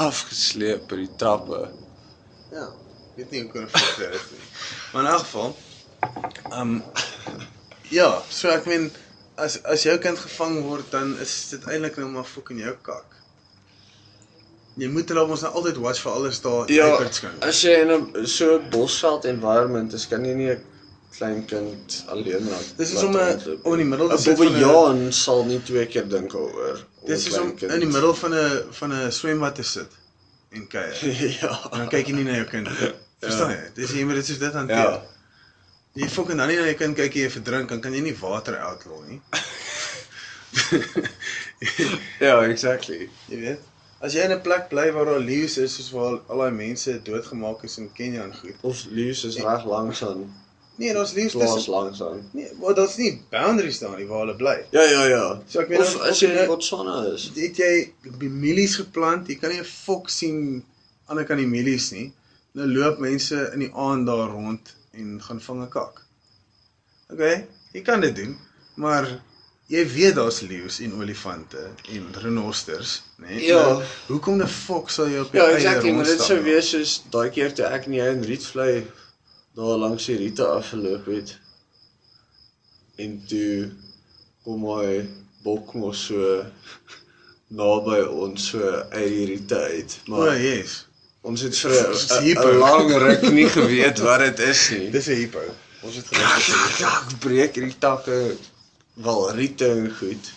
afgesleep by die trappe. Ja, weet nie hoe kan ek dit reg nie. Maar in elk geval, ehm ja, so ek meen as as jou kind gevang word dan is dit eintlik nou maar fucking jou kak. Jy moet hulle ons nou altyd watch vir alles daar Ja, hyperts kan. as jy in 'n so 'n bosveld environment is, kan jy nie 'n klein kind alleen laat. Dis is laat om 'n- rondloop om in die middel te 'n sit van 'n- Bobbejaan sal nie twee keer dink daaroor. om 'n Dis is klein om kind- in die middel van 'n van 'n swembad te sit en kuier. En dan <laughs> ja. kyk jy nie na jou kind nie. Verstaan jy? Dis jy moet dit soos dit hanteer. Ja. Jy fucking dan nie na jou kind kyk jy verdrink, dan kan jy nie water uitlol nie. Ja, exactly. Jy weet, as jy in 'n plek bly waar daar leeu's is soos waar al daai mense doodgemaak is in Kenia en goed. Of leaves is reg langs aan. Nee, daar's leeu's Plaas tussen. langs aan. Nee, maar daar's nie boundaries daar nie waar hulle bly. Ja, ja, ja. So ek weet Of dan- as jy in nou- Botswana is. Het jy mielies geplant? Jy kan nie 'n fok sien ander kan die mielies nie. Nou loop mense in die aand daar rond en gaan vang 'n kak. OK, jy kan dit doen, maar jy weet daar's leeu's en olifante en renosters, né? Nee? Ja. Nou, hoekom 'n fok sal jy op jou Ja, eie exactly, maar dit rondstap sou maak? wees soos daai keer toe ek en jy in Rietvlei daar langs die Riete afgeloop het. En toe kom hy bok mos so naby ons so uit die Riete uit, O, maar yes. ons het vir Dis 'n- 'n hypo. 'n lang ruk nie geweet wat dit is nie. Dis 'n hypo. Ons het gedink Ja, ek breek hierdie takke wel Riete en goed.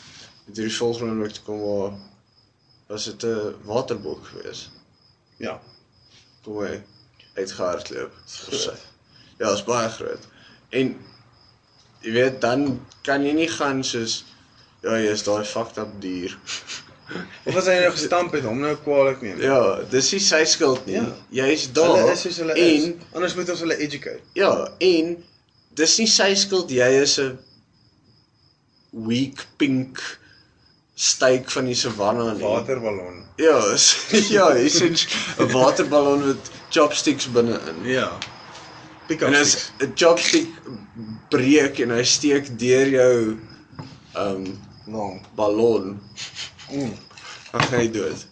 Het hierdie volgende week toe kom waar was dit 'n waterbok geweest. ja, kom hy uitgehardloop. groot. Ja, is baie groot. En jy weet dan kan jy nie gaan soos ja, jy's daai fucked up dier. <laughs> Of as hy nou gestamp het, hom nou kwaadlik neem. Ja, dis nie sy skuld nie. Ja. Jy's daar. Hulle is soos hulle is. en, Anders moet ons hulle educate. Ja, en dis nie sy skuld jy is 'n weak pink steek van die savanna nie. Waterballon. Ja, is, <laughs> ja, is 'n een waterballon met chopsticks binne-in. Ja. Pick up En as sticks. 'n chopstick breek en hy steek deur jou um Long. ballon, Mm. dan gaan hy dood.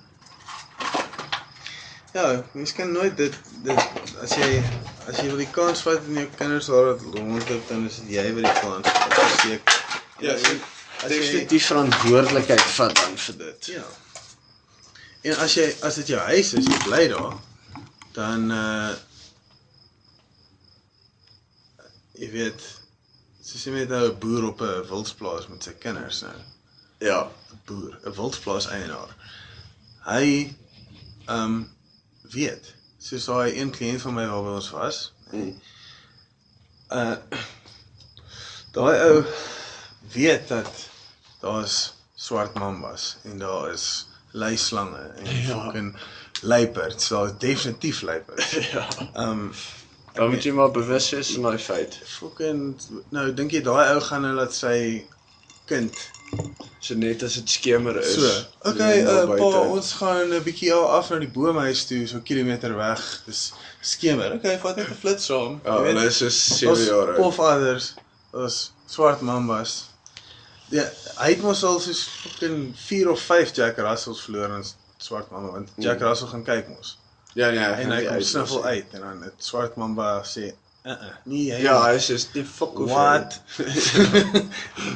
Ja, mens kan nooit dit dit as jy as jy wil die kans vat en jou kinders daar wat rondloop dan is dit jy wat die kans vat. Verseker. Ja, En so- as Dis jy dit die verantwoordelikheid vat dan vir dit. ja. En as jy as dit jou huis is, jy bly daar, dan uh jy weet soos jy met nou 'n boer op 'n wildsplaas met sy kinders nou. Ja, 'n boer, 'n wildsplaas eienaar. Hy ehm um, weet, soos daai een kliënt van my waarby ons was, Mm. uh daai ou weet dat daar's swart mambas en daar is leislange en ja. fucking luiperds, daar's definitief <laughs> luiperds. ja. Ehm um, Dan moet jy maar bewus wees van daai feit. fucking nou dink jy daai ou gaan nou laat sy kind So net as dit skemer is. So, okay, is jy uh, daar pa, buite. ons gaan 'n bietjie al af na die boomhuis toe, so 'n kilometer weg. Dis skemer. Okay, vat net 'n flits saam. Ja, hulle is so 7 jaar oud. Of anders as swart mambas. Ja, hy het mos al soos fucking 4 of 5 Jack Russells verloor aan s- swart mamba want Hmm. Jack mm. Russell gaan kyk mos. Ja, nee, En hy kom sniffel uit en dan het swart mamba sê, "Uh, uh nee, hy Ja, hy is nie fuck off. What? <laughs>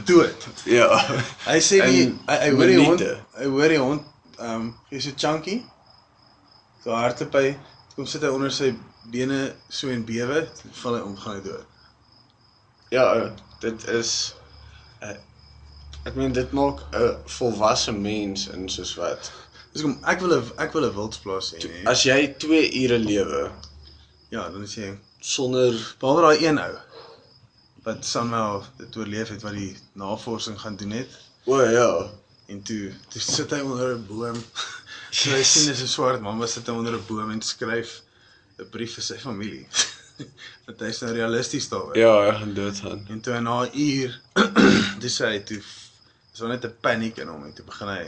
<laughs> Dood. Ja. Hy sê nie In hy hy hoor die hond, minute. hy hoor die hond, ehm, um, hy's so chunky. So hartepy, kom sit hy onder sy bene so en bewe, toe val hy om gaan hy dood. <laughs> Ja, dit is eh, ek meen dit maak 'n volwasse mens in soos wat. Dis kom ek wil 'n ek wil 'n wildsplaas hê, nee. As jy 2 ure lewe Ja, dan is jy sonder behalwe daai een ou wat somehow dit oorleef het wat die navorsing gaan doen het o oh, ja, en toe toe sit hy onder 'n boom. so hy sien dis 'n swart man wat sit hy onder 'n boom en skryf 'n brief vir sy familie. <laughs> Want hy's nou realisties daaroor. ja, ek gaan dood gaan. En toe na 'n uur <clears throat> dis hy toe is daar net 'n paniek in hom en toe begin hy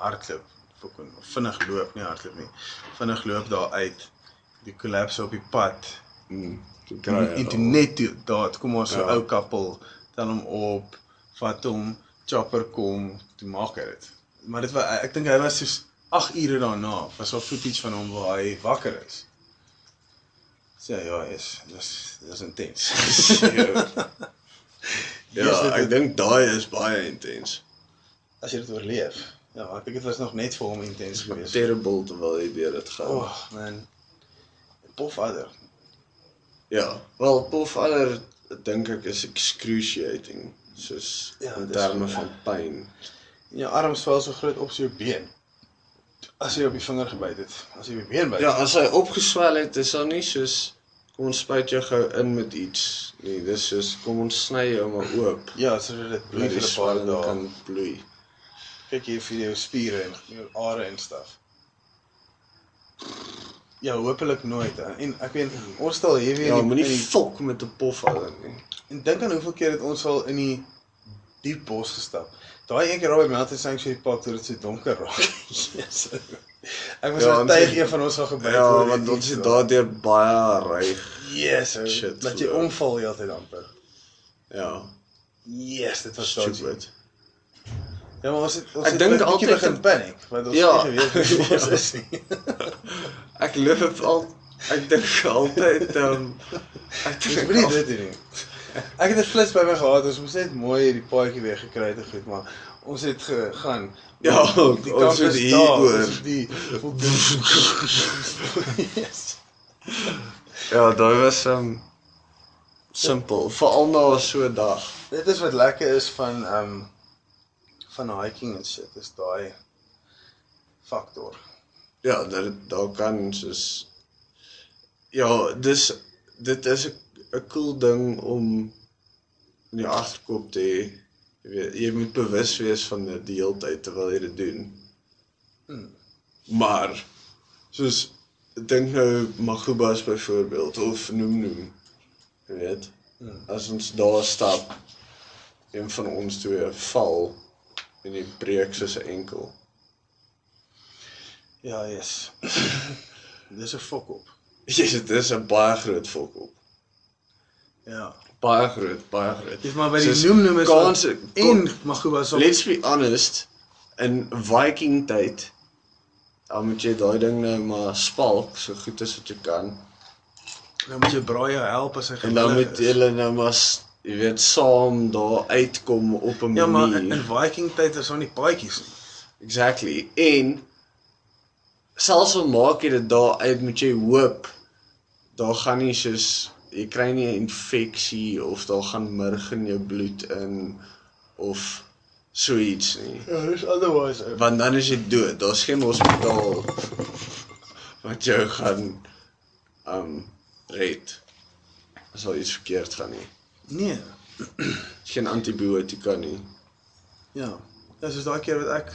hardloop, fucking of vinnig loop, nie hardloop nie. Vinnig loop daar uit. Die kollaps op die pad. Mm, toe kry En hy toe al- net toe daar toe kom ons so Ja. ou kappel, tel hom op, vat hom, chopper kom, toe maak hy dit. Maar dit was ek dink hy was soos 8 ure daarna was daar footage van hom waar hy wakker is. So ja, yes, dis dis intens. <laughs> <laughs> Yes, Ja, dit- ek dink daai is baie intens. as jy dit oorleef. Ja, maar ek dink dit was nog net vir hom intens Maar geweest. terrible terwyl jy deur dit gaan. Oh man. Pofadder. Ja, wel Pofadder dink ek is excruciating soos Ja, ja, in dis- terme van pyn. En jou Ja, arms val so groot op sy been. As jy op die vinger gebyt het, as jy op die been byt. Ja, as hy opgeswel het, is daar nie soos kom ons spuit jou gou in met iets nie. Dis soos kom ons sny jou maar oop. ja sodat dit bloei dat vir die 'n paar swelling kan dae. bloei. Kyk hier vir jou spiere en jou are en stuff. Ja, hopelik nooit. Hè. En ek weet ons stel hier weer Ja, in die, moenie in die, fok met 'n pofadder nie. en dink aan hoeveel keer het ons al in die diep bos gestap. Daai een keer daar by Mountain Sanctuary Park toe dit so donker <laughs> raak. Jesus. Ek was Ja, ja, ons oortuig het- een van ons gaan gebeur Ja, want ons het daardeur baie ryg. Yes, Shit, shit. Dat jy geloof. omval heeltyd amper. Ja, Yes, dit was dodgy. stupid. Ja, maar ons het ons Ek het dink 'n bietjie altyd- begin paniek, want ons Ja. het nie geweet wat ons <laughs> is nie. Ek loop al ek dink altyd um ek Dis dink baie al- dit doen nie. Ek het 'n flits by my gehad. Ons moes net mooi hierdie paadjie weer gekry het en goed, maar ons het gegaan. Ja, Die ons kamp het is hier daar. oor. Ons <laughs> het die <laughs> Yes. Ja, daai was um simpel, veral na so 'n dag. Dit is wat lekker is van ehm um, van hiking en shit, is daai faktor. Ja, dat dit daar kan soos Ja, dis dit is 'n 'n cool ding om in die agterkop te hê. Jy weet, jy moet bewus wees van dit die hele tyd terwyl jy dit doen. Maar soos dink nou Magubas byvoorbeeld of noem noem. Jy weet, as ons daar stap een van ons twee val en die breek soos 'n enkel. <laughs> Ja, yes. <clears throat> Dis 'n fok op. Yes, dit is 'n baie groot volk op. Ja. Baie groot, baie groot. Dis maar by die Soos noem noem is kans en en Maguba se let's be honest, in Viking tyd dan moet jy daai ding nou maar spalk so goed as wat jy kan. nou moet jy braaie help as hy En dan gevlug moet is. julle nou maar s- jy weet saam daar uitkom op 'n Ja, maar in, manier. in Viking tyd is daar nie paadjies nie. Exactly. En selfs al maak jy dit daar uit, moet jy hoop daar gaan nie soos jy kry nie 'n infeksie of daar gaan murg in jou bloed in of so iets nie. Ja, dis otherwise. Want dan is jy dood. Daar's geen hospitaal wat jou gaan um red. As al iets verkeerd gaan nie. Nee. Geen antibiotika nie. Ja. Dis is daai keer wat ek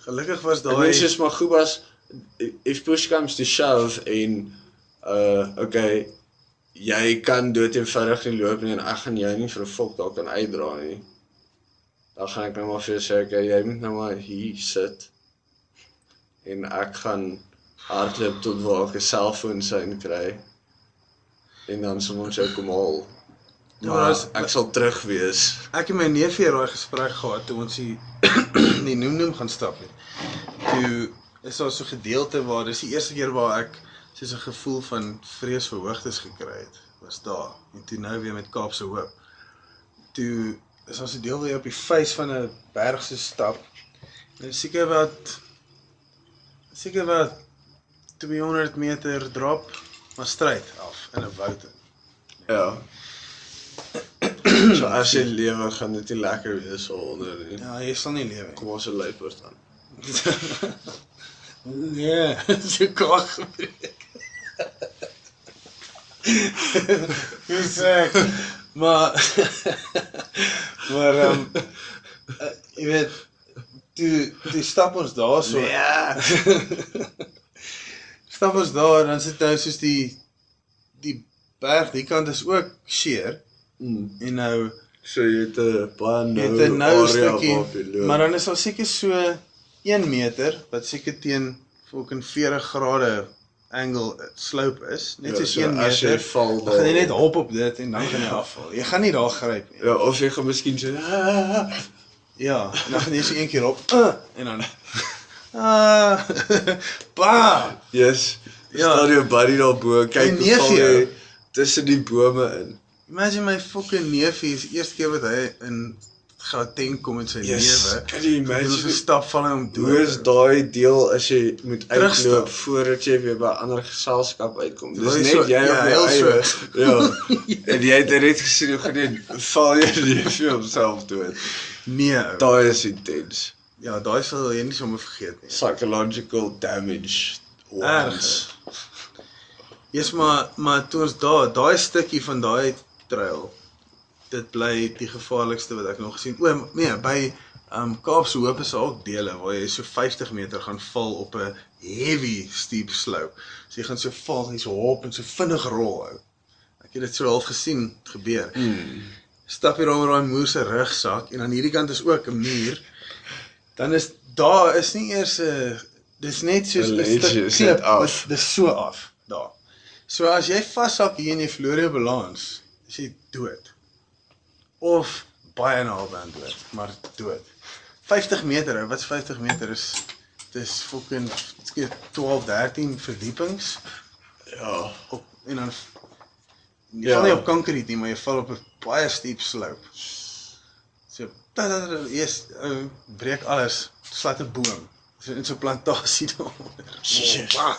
gelukkig was Daai mense daai is maar goed was if push comes to shove en uh okay jy kan dood eenvoudig nie loop nie en ek gaan jou nie vir 'n fok daar kan uitdra nie. Dan gaan ek nou maar vir jou sê okay jy moet nou maar hier sit en ek gaan hardloop tot waar ek 'n selfoon sien kry en dan sal ons jou kom haal. Ja, maar Maar as- ek sal terug wees. ek en my neef het daai gesprek gehad toe ons die <clears throat> die noem noem gaan stap het. Toe is daar so 'n gedeelte waar dis die eerste keer waar ek soos 'n gevoel van vrees vir hoogtes gekry het. Was daar en toe nou weer met Kaapse Hoop. Toe is ons 'n deel waar jy op die vuis van 'n berg se stap. Nou seker wat seker wat 200 meter drop maar stryd af in 'n woud. in. Ja. <clears throat> so as jy lewe gaan dit nie lekker wees al onder nie. Ja, jy sal nie lewe nie. Kom ons se luipers dan. Nee, so kag gebreek. Dis ek. Maar maar ehm um, jy weet toe toe stap ons daarso. Ja. Nee. <laughs> Stap ons daar en dan sit nou soos die die berg, die kant is ook seer Mm. en nou So jy het 'n baie nou het 'n nou stukkie, maar dan is daar seker so 1 meter wat seker teen fucking 40 grade angle eh, slope is. Net soos 1 Ja, As jy meter. val Dan gaan jy net hop op dit en dan gaan jy afval. Jy gaan nie daar gryp nie. Ja, of jy gaan miskien so "Ah." Ja, en dan gaan jy so een keer op uh, en dan <laughs> ah <laughs> ba. Yes. Ja. Ja. Staan jou buddy daarbo, kyk En hoe val neef jou. jy tussen die bome in. Imagine my fucking neefie is eerste keer wat hy in Gauteng kom in sy Yes, lewe. kan jy imagine? Hoe stap val hy om Hoe is dood? daai deel as jy moet Terugstap. uitloop voordat jy weer by ander geselskap uitkom? Dis Terwyl jy net so- jy ja, op jou heel eie. <laughs> Ja. En jy het dit net gesien hoe gedoen val jy lief vir homself dood. Nee. ou. Daai is intens. Ja, daai sal jy nie sommer vergeet nie. Psychological damage. Erg. Eers maar maar toe ons daar, daai stukkie van daai trail dit bly die gevaarlikste wat ek nog gesien. O nee, by um Kaapse Hoop is daar ook dele waar jy so 50 meter gaan val op 'n heavy steep slope. So jy gaan so val, jy so hop en so vinnig rol hou. Ek het dit so half gesien gebeur. Mm. Stap hier onder daai moer se rugsak en aan hierdie kant is ook 'n muur. Dan is daar is nie eers 'n dis net soos 'n Ledge stuk is klip net af. af. Dis so af daar. So as jy vashak hier en jy verloor jou balans, is jy dood. Of baie naby aan dood, maar dood. 50 meter, ou, wat's 50 meter is dis fucking 12, 13 verdiepings Ja. op en dan jy Ja. val nie op konkrete nie, maar jy val op 'n baie steep slope. So eers ou eh, breek alles, slat 'n boom. So in so 'n plantasie <laughs> daaronder. Jesus. Bah.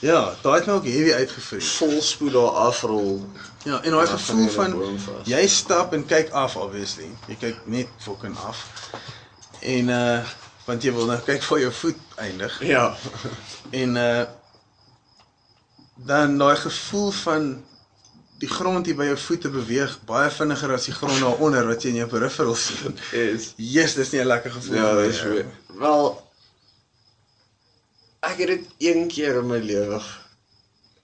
Ja, daai het my ook heavy uitgevries. Volspoed daar afrol. Ja, en Dan daai gaan gevoel jy in 'n van boom vas. jy stap en kyk af obviously. Jy kyk net fucking af. En uh want jy wil nou kyk waar jou voet eindig. Ja. eh, En uh dan daai gevoel van die grond hier by jou voete beweeg baie vinniger as die grond daaronder wat jy in jou peripheral sien. Is Jesus, dis nie 'n lekker gevoel ja, nie, dis ou. weer. Wel ek het dit een keer in my lewe ge-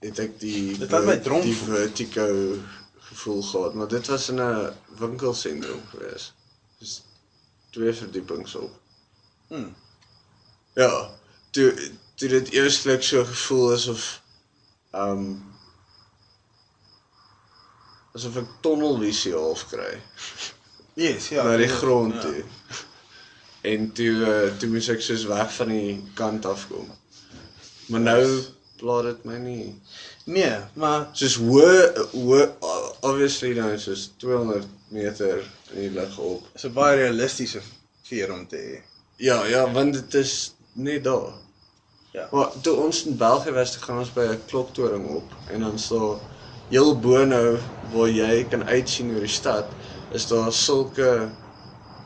het ek die Dit laat my dronk die voel. vertigo gevoel gehad, maar dit was in 'n winkelsentrum gewees. Dis twee verdiepings op. Hmm. Ja, toe toe dit eersliks so gevoel asof ehm um, asof ek tunnelvisie half kry Yes, ja, ja. na die dis- grond ja. ja. toe. En toe uh, toe moes ek soos weg van die kant af kom. Maar nou pla dit my nie. Nee, maar Soos hoë hoë obviously nou soos 200 meter in die lug op. dis 'n baie realistiese veer om te hê. Ja, ja, want dit is net daar. Ja. Maar toe ons in België was, toe gaan ons by 'n kloktoring op en dan so heel bo nou waar jy kan uitsien oor die stad, is daar sulke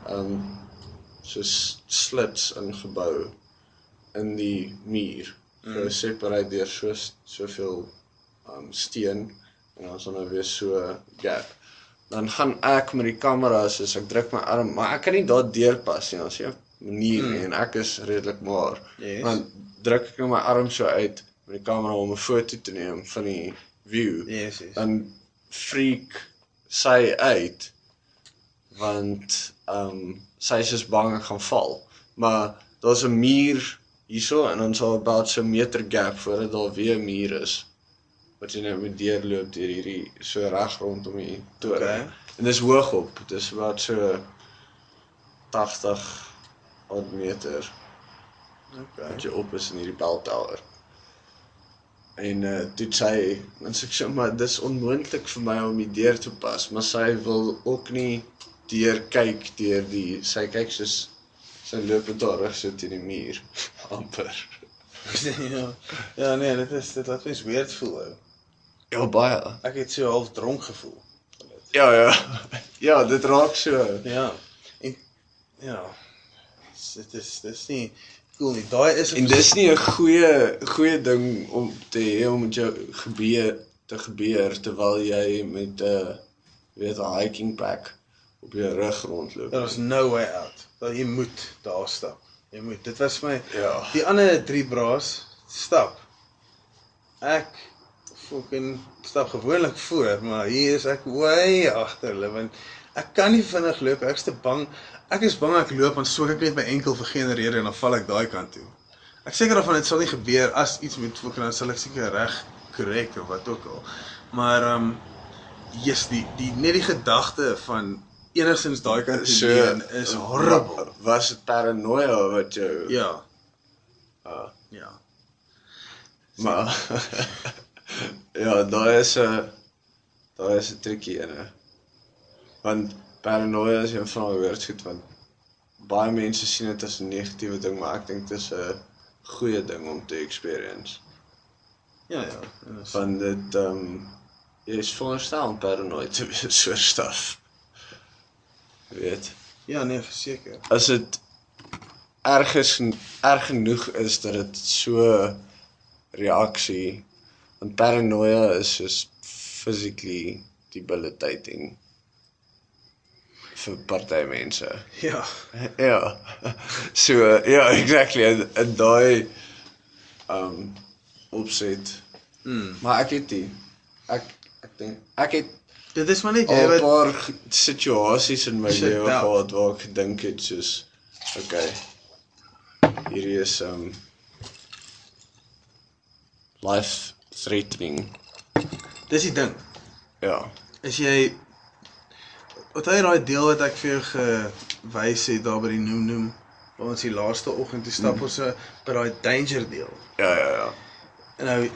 ehm um, soos slits ingebou in die muur. Mm. Separate deur so soveel ehm um, steen en dan is daar nou weer so gap. Dan gaan ek met die kamera soos ek druk my arm, maar ek kan nie daar deurpas nie, ons sien manier mm. en ek is redelik maar. Hmm. Yes. Dan druk ek nou my arm so uit met die kamera om 'n foto te neem van die view. Yes, yes. Dan freak sy uit want ehm um, sy is soos bang ek gaan val. Maar daar's 'n muur hierso en dan sal about so 'n meter gap voordat daar weer 'n muur is wat jy nou moet deurloop deur hierdie so reg rondom die toren. Okay. Okay. En dis hoog op. Dis about so 80 odd meter Okay. wat jy op is in hierdie bell tower. En uh toe het sy en sê ek so maar dis onmoontlik vir my om die deur te pas, maar sy wil ook nie deur kyk deur die sy kyk soos sy loop met haar rug so teen die muur <laughs> amper. ja. <laughs> Ja, nee, dit is dit laat mens weird voel. Ou. Ja baie. Ek het so half dronk gevoel. Ja ja. <laughs> Ja, dit raak so. Ja. En ja. Dit is dis nie cool nie. Daai is 'n En dis nie 'n goeie goeie ding om te hê om met jou gebeur te gebeur terwyl jy met 'n uh, weet 'n hiking pack op jou rug rondloop. Daar is no way out. Wel jy moet daar stap. Jy moet. Dit was my Ja. die ander drie braas stap. Ek fucking stap gewoonlik voor, maar hier is ek way agter hulle want ek kan nie vinnig loop. Ek's te bang. Ek is bang ek loop en swak ek net my enkel vir geen rede en dan val ek daai kant toe. Ek seker daarvan dit sal nie gebeur as iets met fucking dan sal ek seker reg korrek of wat ook al. Maar ehm um, Jesus, die die net die gedagte van enigstens daai kant te So, leen is horrible. Wa- Was dit paranoia wat jou Ja. Ah. Ja. maar <laughs> ja, daar is 'n daar is 'n triekie in. hè. Want paranoia is een van daai woordgoed want baie mense sien dit as 'n negatiewe ding, maar ek dink dit is 'n goeie ding om te experience. Ja ja. en is- Want dit ehm um, jy is veronderstel om paranoid te wees oor stuff. Jy weet. Ja nee, verseker. <laughs> as dit ergens erg genoeg is dat dit so reaksie want paranoia is soos physically debilitating vir party mense. Ja. Ja. <laughs> So ja, exactly en, en daai um opset. Mm. Hmm, Maar ek het die ek ek dink ek het Dit is maar net jy al 'n wat paar ge- situasies in my Sit lewe down. gehad waar ek gedink het soos okay hierdie is um life threatening dis die ding. ja As jy wat hy daai deel wat ek vir jou gewys het daar by die noem noem waar ons die laaste oggend toe stap mm. ons eh, by daai danger deel. ja ja ja En nou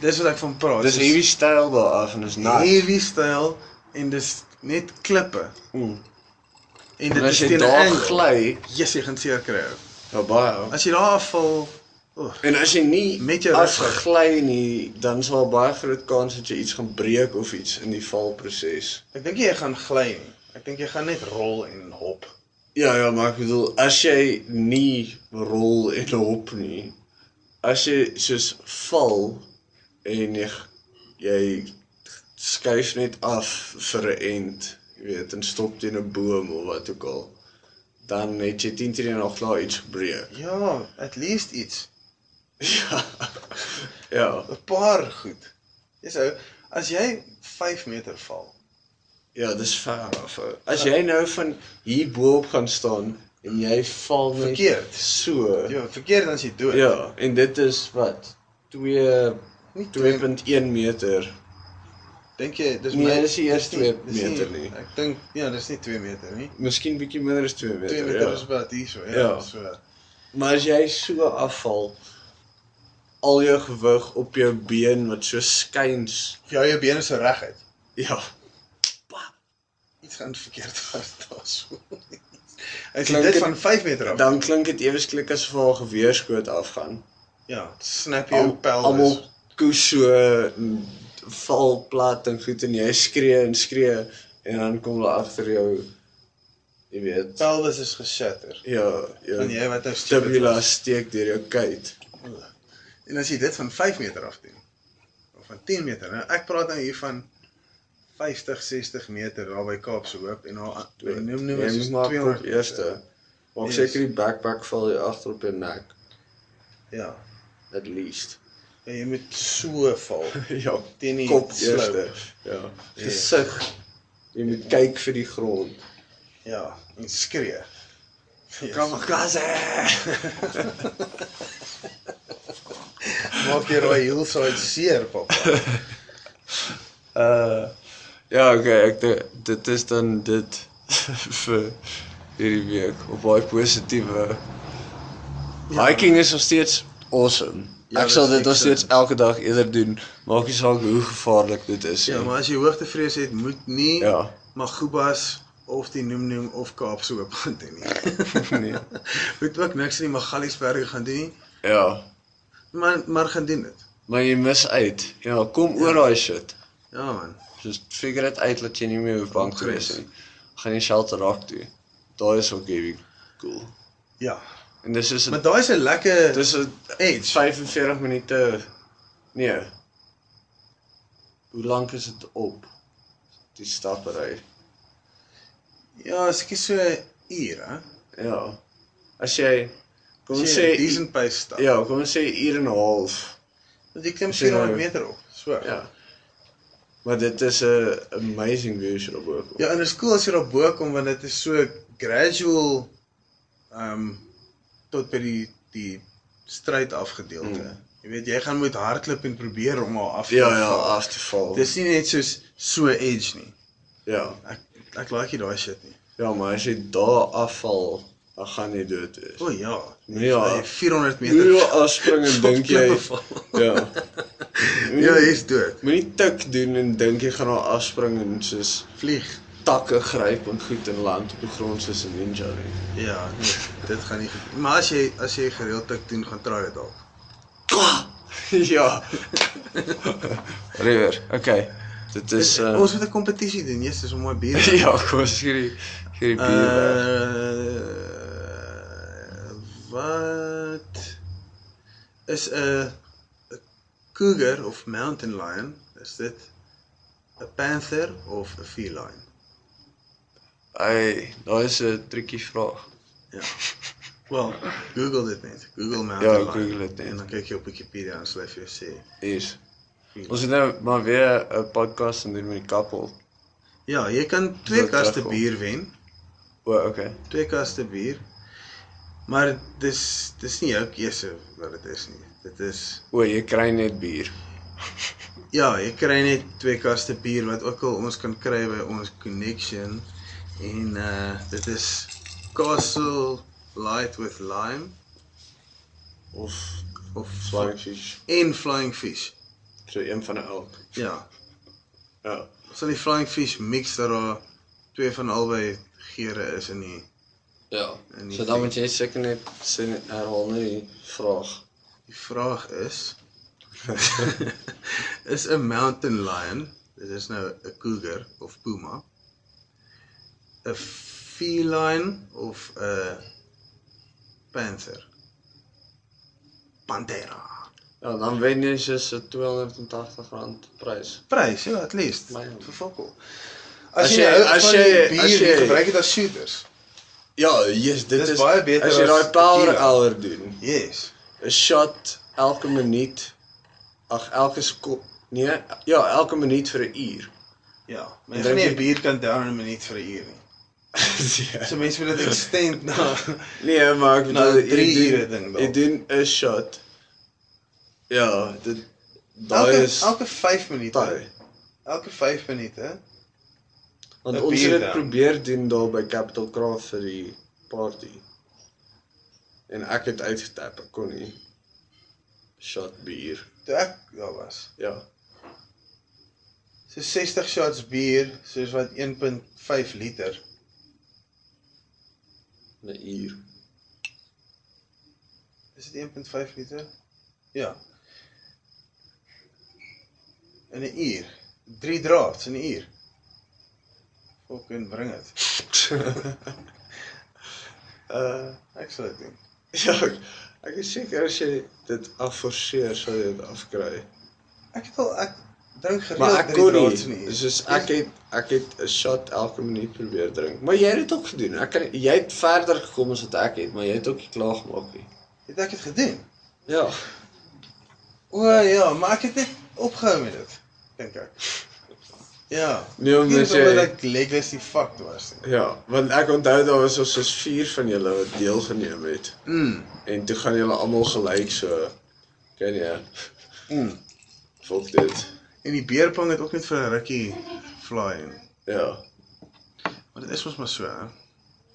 dis wat ek van praat. dis heavy styl daar af en is nat heavy styl en dis net klippe mm. en en dit as is jy teen 'n daar angle. gly Jesus, jy gaan seer kry. ou. ja baie As jy daar afval, oh, en as jy nie Met jou rugsak. afgly nie dan is daar baie groot kans dat jy iets gaan breek of iets in die valproses Ek dink nie jy gaan gly nie. Ek dink jy gaan net rol en hop. Ja ja, maar ek bedoel as jy nie rol en hop nie. As jy soos val en jy, jy skuif net af vir 'n end, jy weet, en stop teen 'n boom of wat ook al. Dan het jy 10 teen nog klaar iets gebreek. <laughs> Ja, at least iets. Ja. ja. 'n Paar goed. Dis ou, as jy 5 meter val. Ja, dis ver af. ou. As jy nou van hier bo op gaan staan en jy val net Verkeerd. so. Ja, verkeerd dan is jy dood. Ja, en dit is wat 2 nie 2.1 meter. Dink jy dis Nee, my- dis nie eers dis nie- 2 dis nie- meter nie. Ek dink ja, dis nie 2 meter nie. Miskien bietjie minder as 2 meter. 2 meter ja. is wat hier so, ja, Ja. so. Maar as jy so afval, al jou gewig op jou been wat so skuins. Jou jou bene se reguit. Ja, Iets gaan verkeerd vas daarso. <laughs> As jy Klink dit het- van 5 meter af. dan klink dit ewe skielik asof haar geweerskoot afgaan. ja, snap jou Al- Al, pelvis. Almal koes so en val plat en goed en jy skree en skree en dan kom hulle agter jou jy weet. pelvis is geshatter. Ja, ja. Van jy wat nou stupid Stabula was. steek deur jou kuit. En as jy dit van 5 meter af doen of van 10 meter, nou ek praat nou hier van 50, 60 meter daar by Kaapse Hoop en haar Dood. noem Jy noem is moet maar kop 200 eerste. Maak dus, eh, Yes. seker die backpack val jou agter op jou nek Ja. at <laughs> least. En jy moet so val. ja, Teen die kop slope. eerste. Ja. Ja. Gesig. Jy moet kyk vir die grond. Ja, en skree. Yes. gas. Maak jy raai hillside seer, pappa. Uh ja, okay, ek dink dit is dan dit <laughs> vir hierdie week op baie positiewe. Hiking is nog steeds awesome. Ja, Ja, ek sal dit is dit nog steeds excellent. elke dag eerder doen. Maak nie saak hoe gevaarlik dit is nie. <laughs> Ja, maar as jy hoogtevrees het, moet nie ja. <laughs> Magubas of die noem noem of Kaapse Hoop gaan doen nie. <laughs> nee. moet ook niks in die Magaliesberge gaan doen nie, Ja. maar maar gaan doen dit. Maar jy mis uit. Ja, kom oor daai shit. Ja man. Dus figure dit uit dat jy nie meer hoef bang te wees nie. Gaan jy shelter raak toe. Daai is ook heavy cool. Ja. En dis is Maar daai is 'n lekker dis is edge. 45 minute nee. Hoe lank is dit op? Die stappery. Ja, skielik so 'n uur, hè. Ja. As jy kom As ons jy sê 'n decent pace stap. ja, kom ons sê uur en 'n half. Want jy klim as jy nou- 400 meter op. So. Ja. Ja. Maar dit is 'n amazing view so daarbo. Ja, en dit is cool as jy daar bo kom want dit is so gradual ehm um, tot by die die stryd afgedeelte. Mm. Mm. Jy weet, jy gaan moet hardloop en probeer om haar af te Ja ja, val. af te val. Dis nie net soos so edge nie. ja. Ek like nie daai shit nie. Ja, maar as jy daar afval, dan gaan jy dood wees. O ja. Ja. Jy 400 meter. Hoe afspring <laughs> en dink jy ja. Ja, jy's dood. Moenie tik doen en dink jy gaan haar afspring en soos Vlieg. takke gryp en goed in land op die grond soos 'n ninja nie. <laughs> Ja, nee, dit gaan nie. goed- Maar as jy as jy gereeld tik doen, gaan try dit dalk. <laughs> ja. River. Okay. Dit is uh, Ons moet 'n kompetisie doen. Jesus, om mooi <laughs> bier. ja, kom ons gee die gee die <laughs> bier. Eh, weg. Uh, wat is 'n 'n cougar of mountain lion? Is dit 'n panther of 'n feline? Ai, daai is 'n triekie vraag. Ja. Wel, Google dit net. Google Ja, mountain lion. Google dit net. En dan kyk jy op Wikipedia en sal jy vir jou sê. Is. Ons het nou maar weer 'n podcast en doen met die kappel. Ja, jy kan twee Wil kaste terugkom. bier wen. O, okay. Twee kaste bier. Maar dis dis nie jou keuse wat dit is nie. Dit is O, jy kry net bier. Ja, jy kry net twee kaste bier wat ook al ons kan kry by ons connection en uh dit is Castle Light with Lime Of of flying fish. en Flying Fish. So een van elk. Ja, Ja. so die Flying Fish mix dat daar twee van albei geure is in die Ja. En die So dan drie- moet jy seker net sê net herhaal net die vraag. die vraag is <laughs> is 'n mountain lion, dit is nou 'n cougar of puma, 'n feline of 'n panther? Pantera. Ja, dan wen jy soos 'n R280 prys. Prys, ja, at least. Maar ja. Vir fokol. As As jy- jy as as jy jy- as as jy jy- gebruik dit as shooters. Ja, yes, dit Dis is baie beter as jy as daai power tequila. hour doen. Yes. 'n Shot elke minuut. Ag, elke skop. Nee, ja, elke minuut vir 'n <laughs> uur. Ja, maar En jy gaan nie drink 'n bier kan down in 'n minuut vir 'n uur nie. ja. So mense <laughs> wil dit extend na Nee, maar ek Nou, bedoel jy drie doen- ure ding Jy dalk. doen 'n shot. Ja, dit daai elke is elke 5 minute. taai. Elke 5 minute. Want een ons het bier dit dan. probeer doen daar by Capital Craft vir die party. En ek het uitgetap, ek kon nie shot bier. Toe ek daar was. Ja. So 60 shots bier, soos wat 1.5 liter. 'n uur. <laughs> Is dit 1.5 liter? Ja. In 'n uur. 3 drafts in 'n uur. Fucking bring dit. Uh, ek sal dit doen. Eh, ja, ek, ek is seker as jy dit afforceer sal jy dit afkry. Ek het al ek drink gereeld Maar ek drie kon drafts in Ja, 'n nie. uur. Soos ek het ek het 'n shot elke minuut probeer drink. Maar jy het dit ook gedoen. Ek kan jy het verder gekom as wat ek het, maar jy het ook nie klaar gemaak nie. het ek dit gedoen. Ja. O ja, maar ek het net opgehou met dit, dink ek. <laughs> Ja. Nee, omdat Hier jy- omdat ek legless die fuck was. Ja, want ek onthou daar was ons soos 4 van julle wat deelgeneem het. Mm. En toe gaan julle almal gelyk so kan jy Mm. volg dit. En die beerpong het ook net vir 'n rukkie fly en. Ja. Maar dit is mos maar so, hè.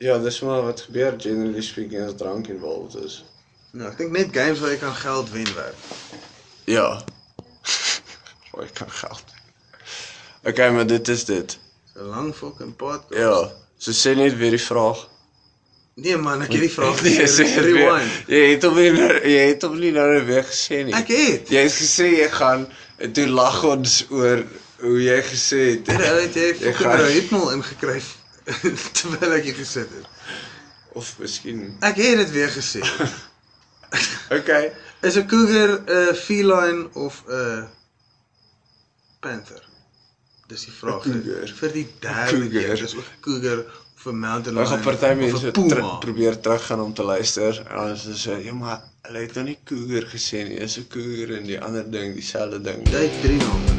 Ja, dis maar wat gebeur generally speaking as drank involved is. Nou, ek dink net games waar jy kan geld wen werk. Ja. <laughs> Hoe oh, kan geld. Okay, maar dit is dit. So lank fucking podcast. Ja, so sê net weer die vraag. Nee man, ek het die vraag <laughs> nie Nee, sê dit weer. rewind. Jy het hom nie nou- jy het hom nie nou weer gesê nie. Ek het. Jy het gesê jy gaan en toe lag ons oor hoe jy gesê het. Dit het jy fucking gaan- nou ritme ingekry <laughs> terwyl ek hier gesit het. Of miskien. Ek het dit weer gesê. Okay. Is 'n cougar 'n feline of 'n panther? Dis die vraag. Een cougar. Vir die derde Cougar. keer, dis ook 'n cougar of 'n mountain Nou lion. gaan party of 'n mense puma. ter, probeer teruggaan om te luister en dan is dit so, "Ja, maar hulle het nou nie cougar gesê nie. Is 'n cougar en die ander ding dieselfde ding." Jy het drie name.